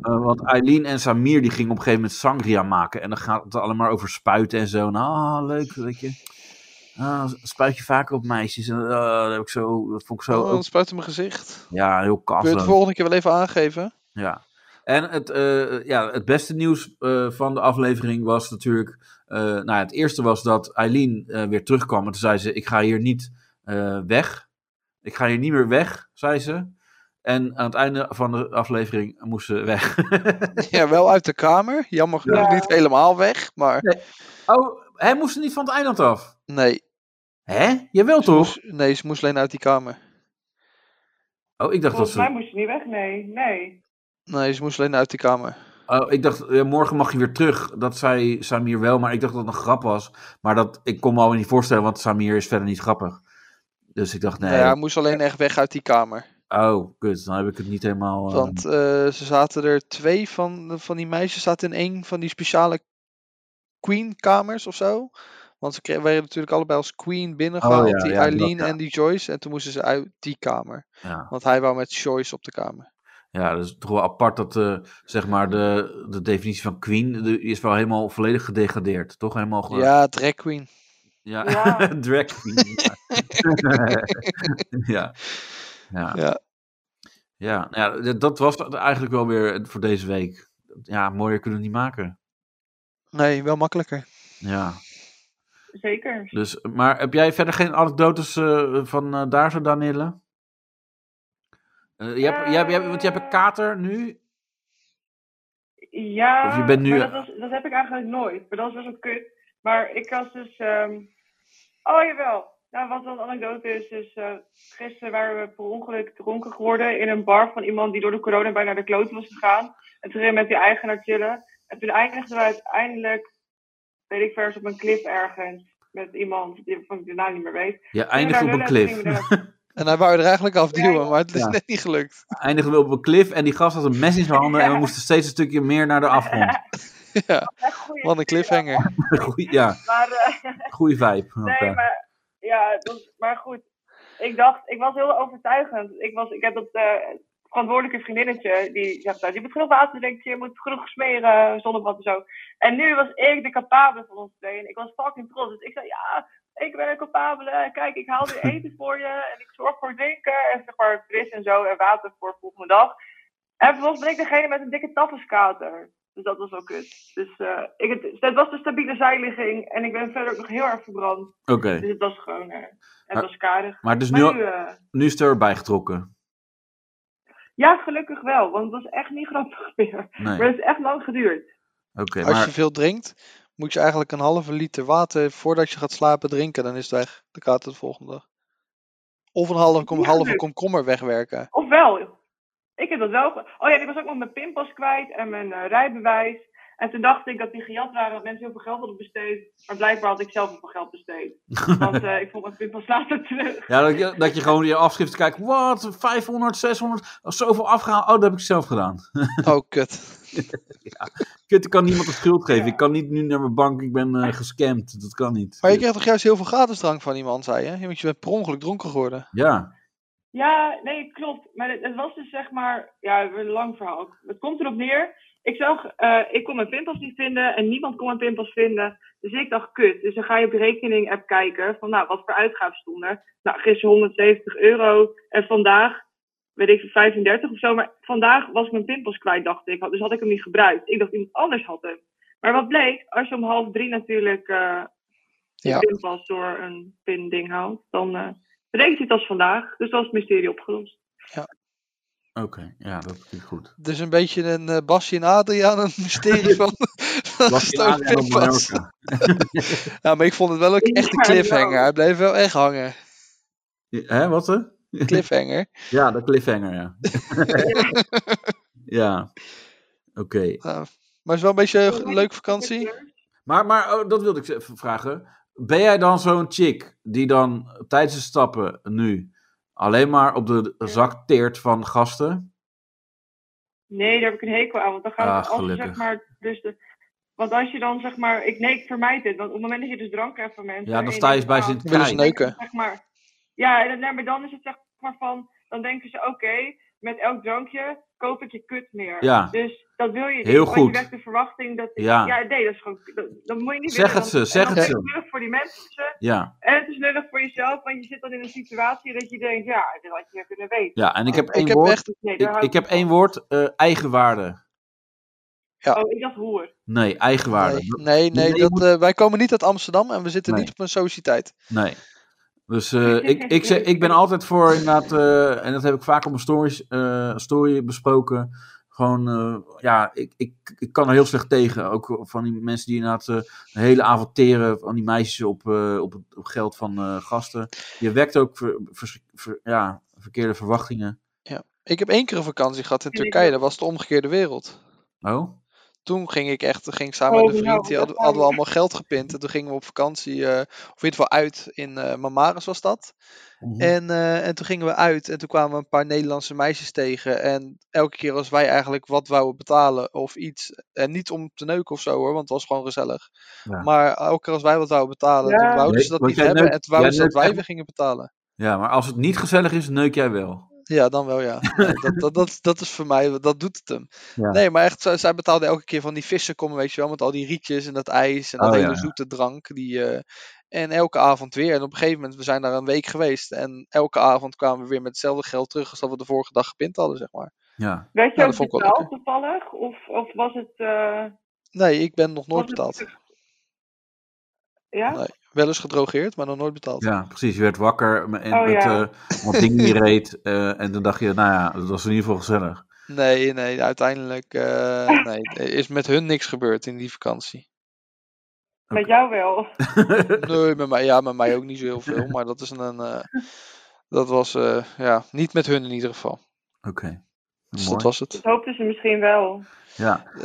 B: eh, want Eileen en Samir die gingen op een gegeven moment sangria maken. En dan gaat het alleen maar over spuiten en zo. Nou, ah, leuk, weet je. Ah, spuit je vaker op meisjes? En, ah, dat, heb ik zo, dat vond ik zo...
C: Oh, het spuit in mijn gezicht.
B: ja, heel
C: Kun je het de
B: kaf.
C: volgende keer wel even aangeven?
B: Ja. En het, eh, ja, het beste nieuws eh, van de aflevering was natuurlijk... eh, nou, ja, het eerste was dat Eileen eh, weer terugkwam. En toen zei ze, ik ga hier niet eh, weg. Ik ga hier niet meer weg, zei ze. En aan het einde van de aflevering moest ze weg.
C: Ja, wel uit de kamer. Jammer genoeg
B: Ja.
C: niet helemaal weg, maar...
B: Nee. Oh, hij moest ze niet van het eiland af?
C: Nee.
B: Hè? Jawel toch?
C: nee, ze moest alleen uit die kamer.
B: Oh, ik dacht dat
I: Volgens mij
B: ze...
I: moest hij niet weg, nee. Nee.
C: Nee, ze moest alleen uit die kamer.
B: Oh, ik dacht, eh, morgen mag je weer terug. Dat zei Samir wel, maar ik dacht dat het een grap was. Maar dat, ik kon me al niet voorstellen, want Samir is verder niet grappig. Dus ik dacht, nee.
C: Nee, hij moest alleen echt weg uit die kamer.
B: Oh, kut. Dan heb ik het niet helemaal. eh,
C: Want eh, ze zaten er twee van, van die meisjes zaten in één van die speciale queen kamers of zo. Want ze kregen, werden natuurlijk allebei als queen binnengehaald.
B: Oh, ja,
C: die
B: ja,
C: Eileen
B: dat, ja.
C: en die Joyce. En toen moesten ze uit die kamer.
B: ja.
C: Want hij wou met Joyce op de kamer.
B: ja, dat is toch wel apart dat eh, zeg maar de, de definitie van queen de- is wel helemaal volledig gedegradeerd. Toch helemaal. ge-
C: Ja, drag queen.
B: ja.
C: ja.
B: drag queen. ja. Ja.
C: Ja.
B: Ja, nou ja, d- dat was het eigenlijk wel weer voor deze week. Ja, mooier kunnen we het niet maken.
C: Nee, wel makkelijker.
B: Ja.
I: Zeker.
B: Dus, maar heb jij verder geen anekdotes eh, van eh, daar zo, Danielle? Eh, je hebt, je hebt, je hebt- want je hebt een kater nu.
I: Ja,
B: Of je bent nu-
I: maar dat, was- dat heb ik eigenlijk nooit. Maar dat was ook kut. Maar ik was dus... ehm, Oh, jawel. Nou, wat een anekdote is, dus eh, gisteren waren we per ongeluk dronken geworden in een bar van iemand die door de corona bijna naar de kloot was gegaan. En toen gingen we met die eigenaar chillen. En toen eindigden we uiteindelijk, weet ik vers, op een clip ergens. met iemand die, van die naam niet meer weet.
B: Je eindigt op een cliff.
C: En hij wou er eigenlijk afduwen, maar het is
B: Ja.
C: net niet gelukt.
B: Eindigden we op een cliff en die gast had een mes in zijn handen en we moesten steeds een stukje meer naar de afgrond.
C: Ja. Wat een cliffhanger.
B: Goeie, ja,
I: Maar, eh,
B: goeie vibe.
I: nee, maar, ja, het was- maar goed. Ik dacht, ik was heel overtuigend. Ik, was, ik heb dat eh, verantwoordelijke vriendinnetje, die zegt, nou, je moet genoeg water drinken, je moet genoeg smeren, zonnebad en zo. En nu was ik de capabele van ons tweeën. Ik was fucking trots. Dus ik zei, ja, ik ben een capabele. Kijk, ik haal weer eten voor je en ik zorg voor drinken en zeg maar fris en zo en water voor volgende dag. En vervolgens ben ik degene met een dikke tappenskater. Dus dat was wel kut. Dus eh, ik, het, het was de stabiele zijligging. En ik ben verder ook nog heel erg verbrand.
B: Oké.
I: Dus het was gewoon... eh, het
B: Maar-
I: was karig.
B: Maar het is nu,
I: eh,
B: nu is het erbij getrokken.
I: ja, gelukkig wel. Want het was echt niet grappig meer.
B: Nee.
I: Maar het is echt lang geduurd.
B: Oké,
C: Als
B: maar-
C: je veel drinkt, moet je eigenlijk een halve liter water voordat je gaat slapen drinken. Dan is het weg. Dan gaat het de volgende dag. Of een halve, kom,
I: Ja,
C: halve
I: dus-
C: komkommer wegwerken.
I: Of wel. Ik heb dat wel... ge- Oh ja, en ik was ook nog mijn pinpas kwijt en mijn eh, rijbewijs. En toen dacht ik dat die gejat waren, dat mensen heel veel geld hadden besteed. Maar blijkbaar had ik zelf heel veel geld besteed. Want eh, ik vond mijn pinpas later terug.
B: Ja, dat je, dat je gewoon in je afschrift kijkt. Wat? 500, 600? Zoveel afgehaald? Oh, dat heb ik zelf gedaan.
C: Oh, kut.
B: ja. Kut, ik kan niemand de schuld geven. Ik kan niet nu naar mijn bank. Ik ben eh, gescamd. Dat kan niet.
C: Maar je kreeg toch juist heel veel gratis drank van iemand, zei je? Want je bent per ongeluk dronken geworden.
B: Ja.
I: Ja, nee, klopt. Maar het, het was dus zeg maar, ja, een lang verhaal. Het komt erop neer. Ik zag, eh, ik kon mijn pinpas niet vinden en niemand kon mijn pinpas vinden. Dus ik dacht, kut. Dus dan ga je op de rekening app kijken van, nou, wat voor uitgaven stonden er. Nou, gisteren 170 euro en vandaag, weet ik, 35 of zo. Maar vandaag was ik mijn pinpas kwijt, dacht ik. Dus had ik hem niet gebruikt. Ik dacht, iemand anders had hem. Maar wat bleek, als je om half drie natuurlijk eh je
C: Ja.
I: pinpas door een pinding haalt, dan... eh, Berekent het als vandaag, dus dat is het mysterie opgelost.
B: Oké, ja, dat klinkt goed.
C: Dus een beetje een eh Basje en Adriaan, een mysterie van, van
B: Basje en
C: gestolen
B: Adriaan op
C: pinpas. ja, maar ik vond het wel ook echt een cliffhanger. Hij bleef wel echt hangen.
B: Hè, wat hè?
C: Cliffhanger.
B: Ja, de cliffhanger, ja. ja. Oké.
C: Maar het is wel een beetje een leuke vakantie.
B: Maar, maar oh, dat wilde ik ze even vragen. Ben jij dan zo'n chick die dan tijdens de stappen nu alleen maar op de zak teert van gasten?
I: Nee, daar heb ik een hekel aan, want dan gaat
B: Ah,
I: het altijd
B: gelukkig.
I: zeg maar... Dus de, want als je dan zeg maar... Ik, nee, ik vermijd dit, want op het moment dat je dus drank krijgt van mensen...
B: Ja, dan
I: en je
B: sta je
I: denkt,
B: bij
I: ah,
B: Sint
I: dan denken ze
B: Knijp.
I: Zeg maar, ja, en dan, nee, maar dan is het zeg maar van... Dan denken ze, oké, met elk drankje koop ik je kut meer.
B: Ja.
I: Dus dat wil je niet.
B: Heel
I: want
B: goed.
I: Je wekt de verwachting dat...
B: Ja.
I: nee, dat is gewoon... Dat, dat moet je niet
B: Zeg
I: willen,
B: het
I: want-
B: ze, zeg
I: en
B: het
I: dan
B: ze.
I: is lullig voor die mensen.
B: Ja.
I: En het is lullig voor jezelf, want je zit dan in een situatie dat je denkt... Ja, dat had je kunnen weten.
B: Ja, en ik heb één
I: heb
B: woord.
I: echt- Nee, daar
B: ik,
I: hou
B: ik heb één woord, eh, eigenwaarde.
I: Oh, ik dacht hoer.
B: Nee, eigenwaarde.
C: Nee, nee, nee, dat, eh, wij komen niet uit Amsterdam en we zitten niet op een sociëteit.
B: Nee. Dus eh, ik, ik, zeg, ik ben altijd voor inderdaad, eh, en dat heb ik vaak op mijn stories, eh, story besproken. Gewoon, eh, ja, ik, ik, ik kan er heel slecht tegen. Ook van die mensen die inderdaad eh de hele avond teren van die meisjes op, eh, op, het, op geld van eh, gasten. Je wekt ook ver- vers- ver- ja, verkeerde verwachtingen.
C: Ja. Ik heb één keer een vakantie gehad in
I: Ja, ik
C: Turkije,
I: ook.
C: dat was de omgekeerde wereld.
B: Oh?
C: Toen ging ik echt, ging ik samen
I: Oh,
C: met een
I: nou,
C: vriend, die hadden,
I: dat
C: hadden we
I: kan.
C: allemaal geld gepint. En toen gingen we op vakantie, eh, of in ieder geval uit, in eh Mamares was dat.
B: Mhm.
C: En, eh, en toen gingen we uit en toen kwamen we een paar Nederlandse meisjes tegen. En elke keer als wij eigenlijk wat wouden betalen of iets, en niet om te neuken of zo hoor, want het was gewoon gezellig.
B: Ja.
C: Maar elke keer als wij wat wouden betalen,
B: Ja.
C: dan wouden
B: Nee,
C: ze dat
B: want
C: niet
B: jij
C: hebben.
B: neukt-
C: en toen wouden
B: jij
C: ze dat
B: neukt
C: wij
B: echt-
C: weer gingen betalen.
B: Ja, maar als het niet gezellig is, neuk jij wel.
C: Ja, dan wel ja. Nee, dat, dat, dat, dat is voor mij, dat doet het hem.
B: Ja.
C: Nee, maar echt, zij, zij betaalde elke keer van die vissenkommen, weet je wel, met al die rietjes en dat ijs en dat
B: Oh, ja,
C: hele
B: ja.
C: zoete drank. Die, eh, en elke avond weer. En op een gegeven moment, we zijn daar een week geweest en elke avond kwamen we weer met hetzelfde geld terug als dat we de vorige dag gepint hadden, zeg maar.
B: Ja.
I: Werd je
C: Ja, dat
I: ook
C: vond ik wel
I: betaald toevallig? Of, of was het... eh,
C: Nee, ik ben nog nooit
I: was het-
C: betaald.
I: Ja?
C: Nee, wel eens gedrogeerd, maar nog nooit betaald.
B: Ja, precies. Je werd wakker en
I: Oh,
B: met
I: ja.
B: eh, wat dingen die reed. eh, en toen dacht je, nou ja, dat was in ieder geval gezellig.
C: Nee, nee, uiteindelijk eh, nee, er is met hun niks gebeurd in die vakantie.
I: Met jou wel.
C: Nee, met mij, ja, met mij ook niet zo heel veel, maar dat is een, eh, dat was, eh, ja, niet met hun in ieder geval.
B: Oké.
C: Dus
B: Mooi.
C: dat was het.
I: Dat hoopten ze misschien wel.
B: Ja.
C: Eh,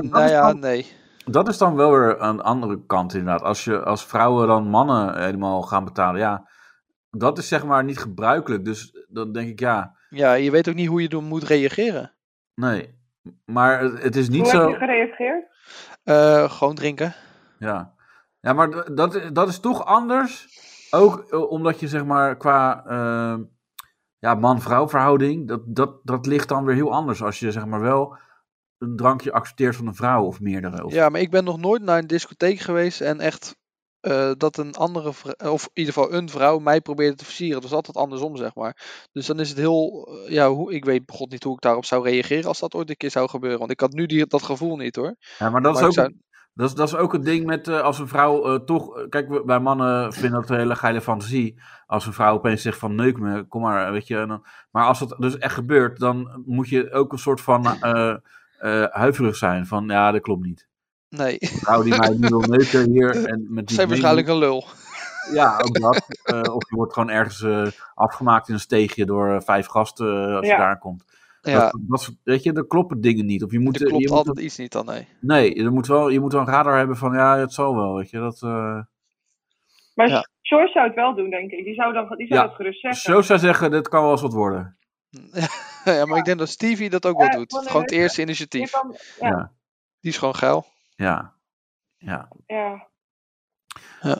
C: nou ja, nee.
B: dat is dan wel weer een andere kant inderdaad. Als, je, als vrouwen dan mannen helemaal gaan betalen, ja, dat is zeg maar niet gebruikelijk. Dus dan denk ik, ja,
C: Ja, je weet ook niet hoe je dan moet reageren.
B: nee. Maar het, het is niet
I: Hoe
B: zo...
I: heb je gereageerd?
C: Eh, gewoon drinken.
B: Ja, ja maar d- dat, dat is toch anders. Ook eh, omdat je zeg maar qua eh, ja, man-vrouw verhouding, dat, dat, dat ligt dan weer heel anders. Als je zeg maar wel een drankje accepteert van een vrouw of meerdere. Of,
C: Ja, maar ik ben nog nooit naar een discotheek geweest en echt eh, dat een andere vrou- of in ieder geval een vrouw mij probeerde te versieren. Dat is altijd andersom, zeg maar. Dus dan is het heel, eh, ja, hoe, ik weet god niet hoe ik daarop zou reageren als dat ooit een keer zou gebeuren. Want ik had nu die, dat gevoel niet hoor.
B: Ja, maar dat,
C: Maar
B: is
C: ik
B: ook,
C: zou-
B: dat, is, dat is ook het ding met eh, als een vrouw eh, toch. eh, Kijk, we- wij mannen vinden dat een hele geile fantasie. Als een vrouw opeens zegt van neuk me, kom maar, eh, weet je. en dan- maar als dat dus echt gebeurt, dan moet je ook een soort van eh eh, huiverig zijn. Van ja, dat klopt niet.
C: Nee.
B: Een vrouw die mij nu wil neuken hier. En met die
C: Zijn waarschijnlijk een
B: mening-
C: lul.
B: Ja, ook dat. Eh, of je wordt gewoon ergens eh, afgemaakt in een steegje door eh, vijf gasten eh, als
C: Ja.
B: je daar komt.
C: Ja.
B: Dat, dat, soort- weet je, er kloppen dingen niet. Of je moet,
C: Er klopt
B: je moet
C: altijd iets niet dan, nee.
B: Nee, je moet, wel, je moet wel een radar hebben van ja, het zal wel, weet je. Dat, eh,
I: Maar
B: Ja.
I: George zou het wel doen, denk ik. Die zou, dan, die zou dat gerust zeggen.
B: Zo zou zeggen, dit kan wel eens wat worden.
C: ja, maar ik denk dat Stevie dat ook wel
I: Ja,
C: doet.
I: gewoon
C: Gewoon het
I: een-
C: eerste initiatief.
I: Je kan- ja, ja.
B: Ja.
C: Die is gewoon
B: Ah.
C: geil.
B: Ja. Ja.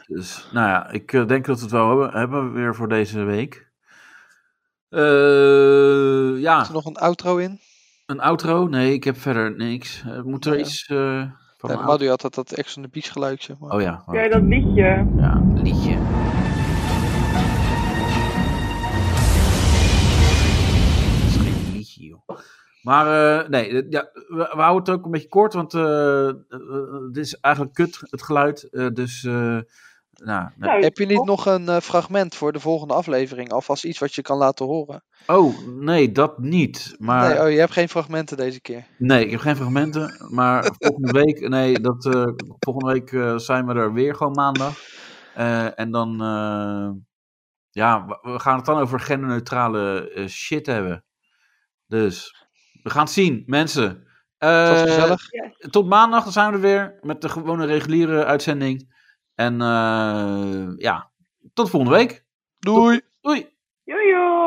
B: Dus, nou ja, ik eh, denk dat we het wel hebben, hebben weer voor deze week. Eh, ja. Is er
C: nog een outro in?
B: Een outro? Nee, ik heb verder niks. Eh, moet er
C: Ja.
B: iets eh van
C: Ja,
B: een
C: Madu had dat, dat Ex on the Beach geluidje. maar-
B: Oh ja.
I: Ken je dat liedje?
B: Ja, liedje. geen liedje, joh. Maar eh, nee, eh, ja, we, we houden het ook een beetje kort, want eh, eh, eh, dit is eigenlijk kut, het geluid. eh, dus, eh, nou, nee.
C: Heb je niet nog een eh, fragment voor de volgende aflevering? Alvast iets wat je kan laten horen?
B: Oh, nee, dat niet. Maar
C: Nee,
B: nee,
C: oh, je hebt geen fragmenten deze keer.
B: ik heb geen fragmenten. Maar volgende week, nee, dat, eh, volgende week eh, zijn we er weer gewoon maandag. Eh, en dan, eh, ja, we- we gaan het dan over genderneutrale eh, shit hebben. Dus, we gaan het zien, mensen. Eh,
C: Het was gezellig.
B: Tot maandag, dan zijn we er weer met de gewone reguliere uitzending. En eh, ja, tot volgende week.
C: Doei.
B: Doei.
I: Joejoe!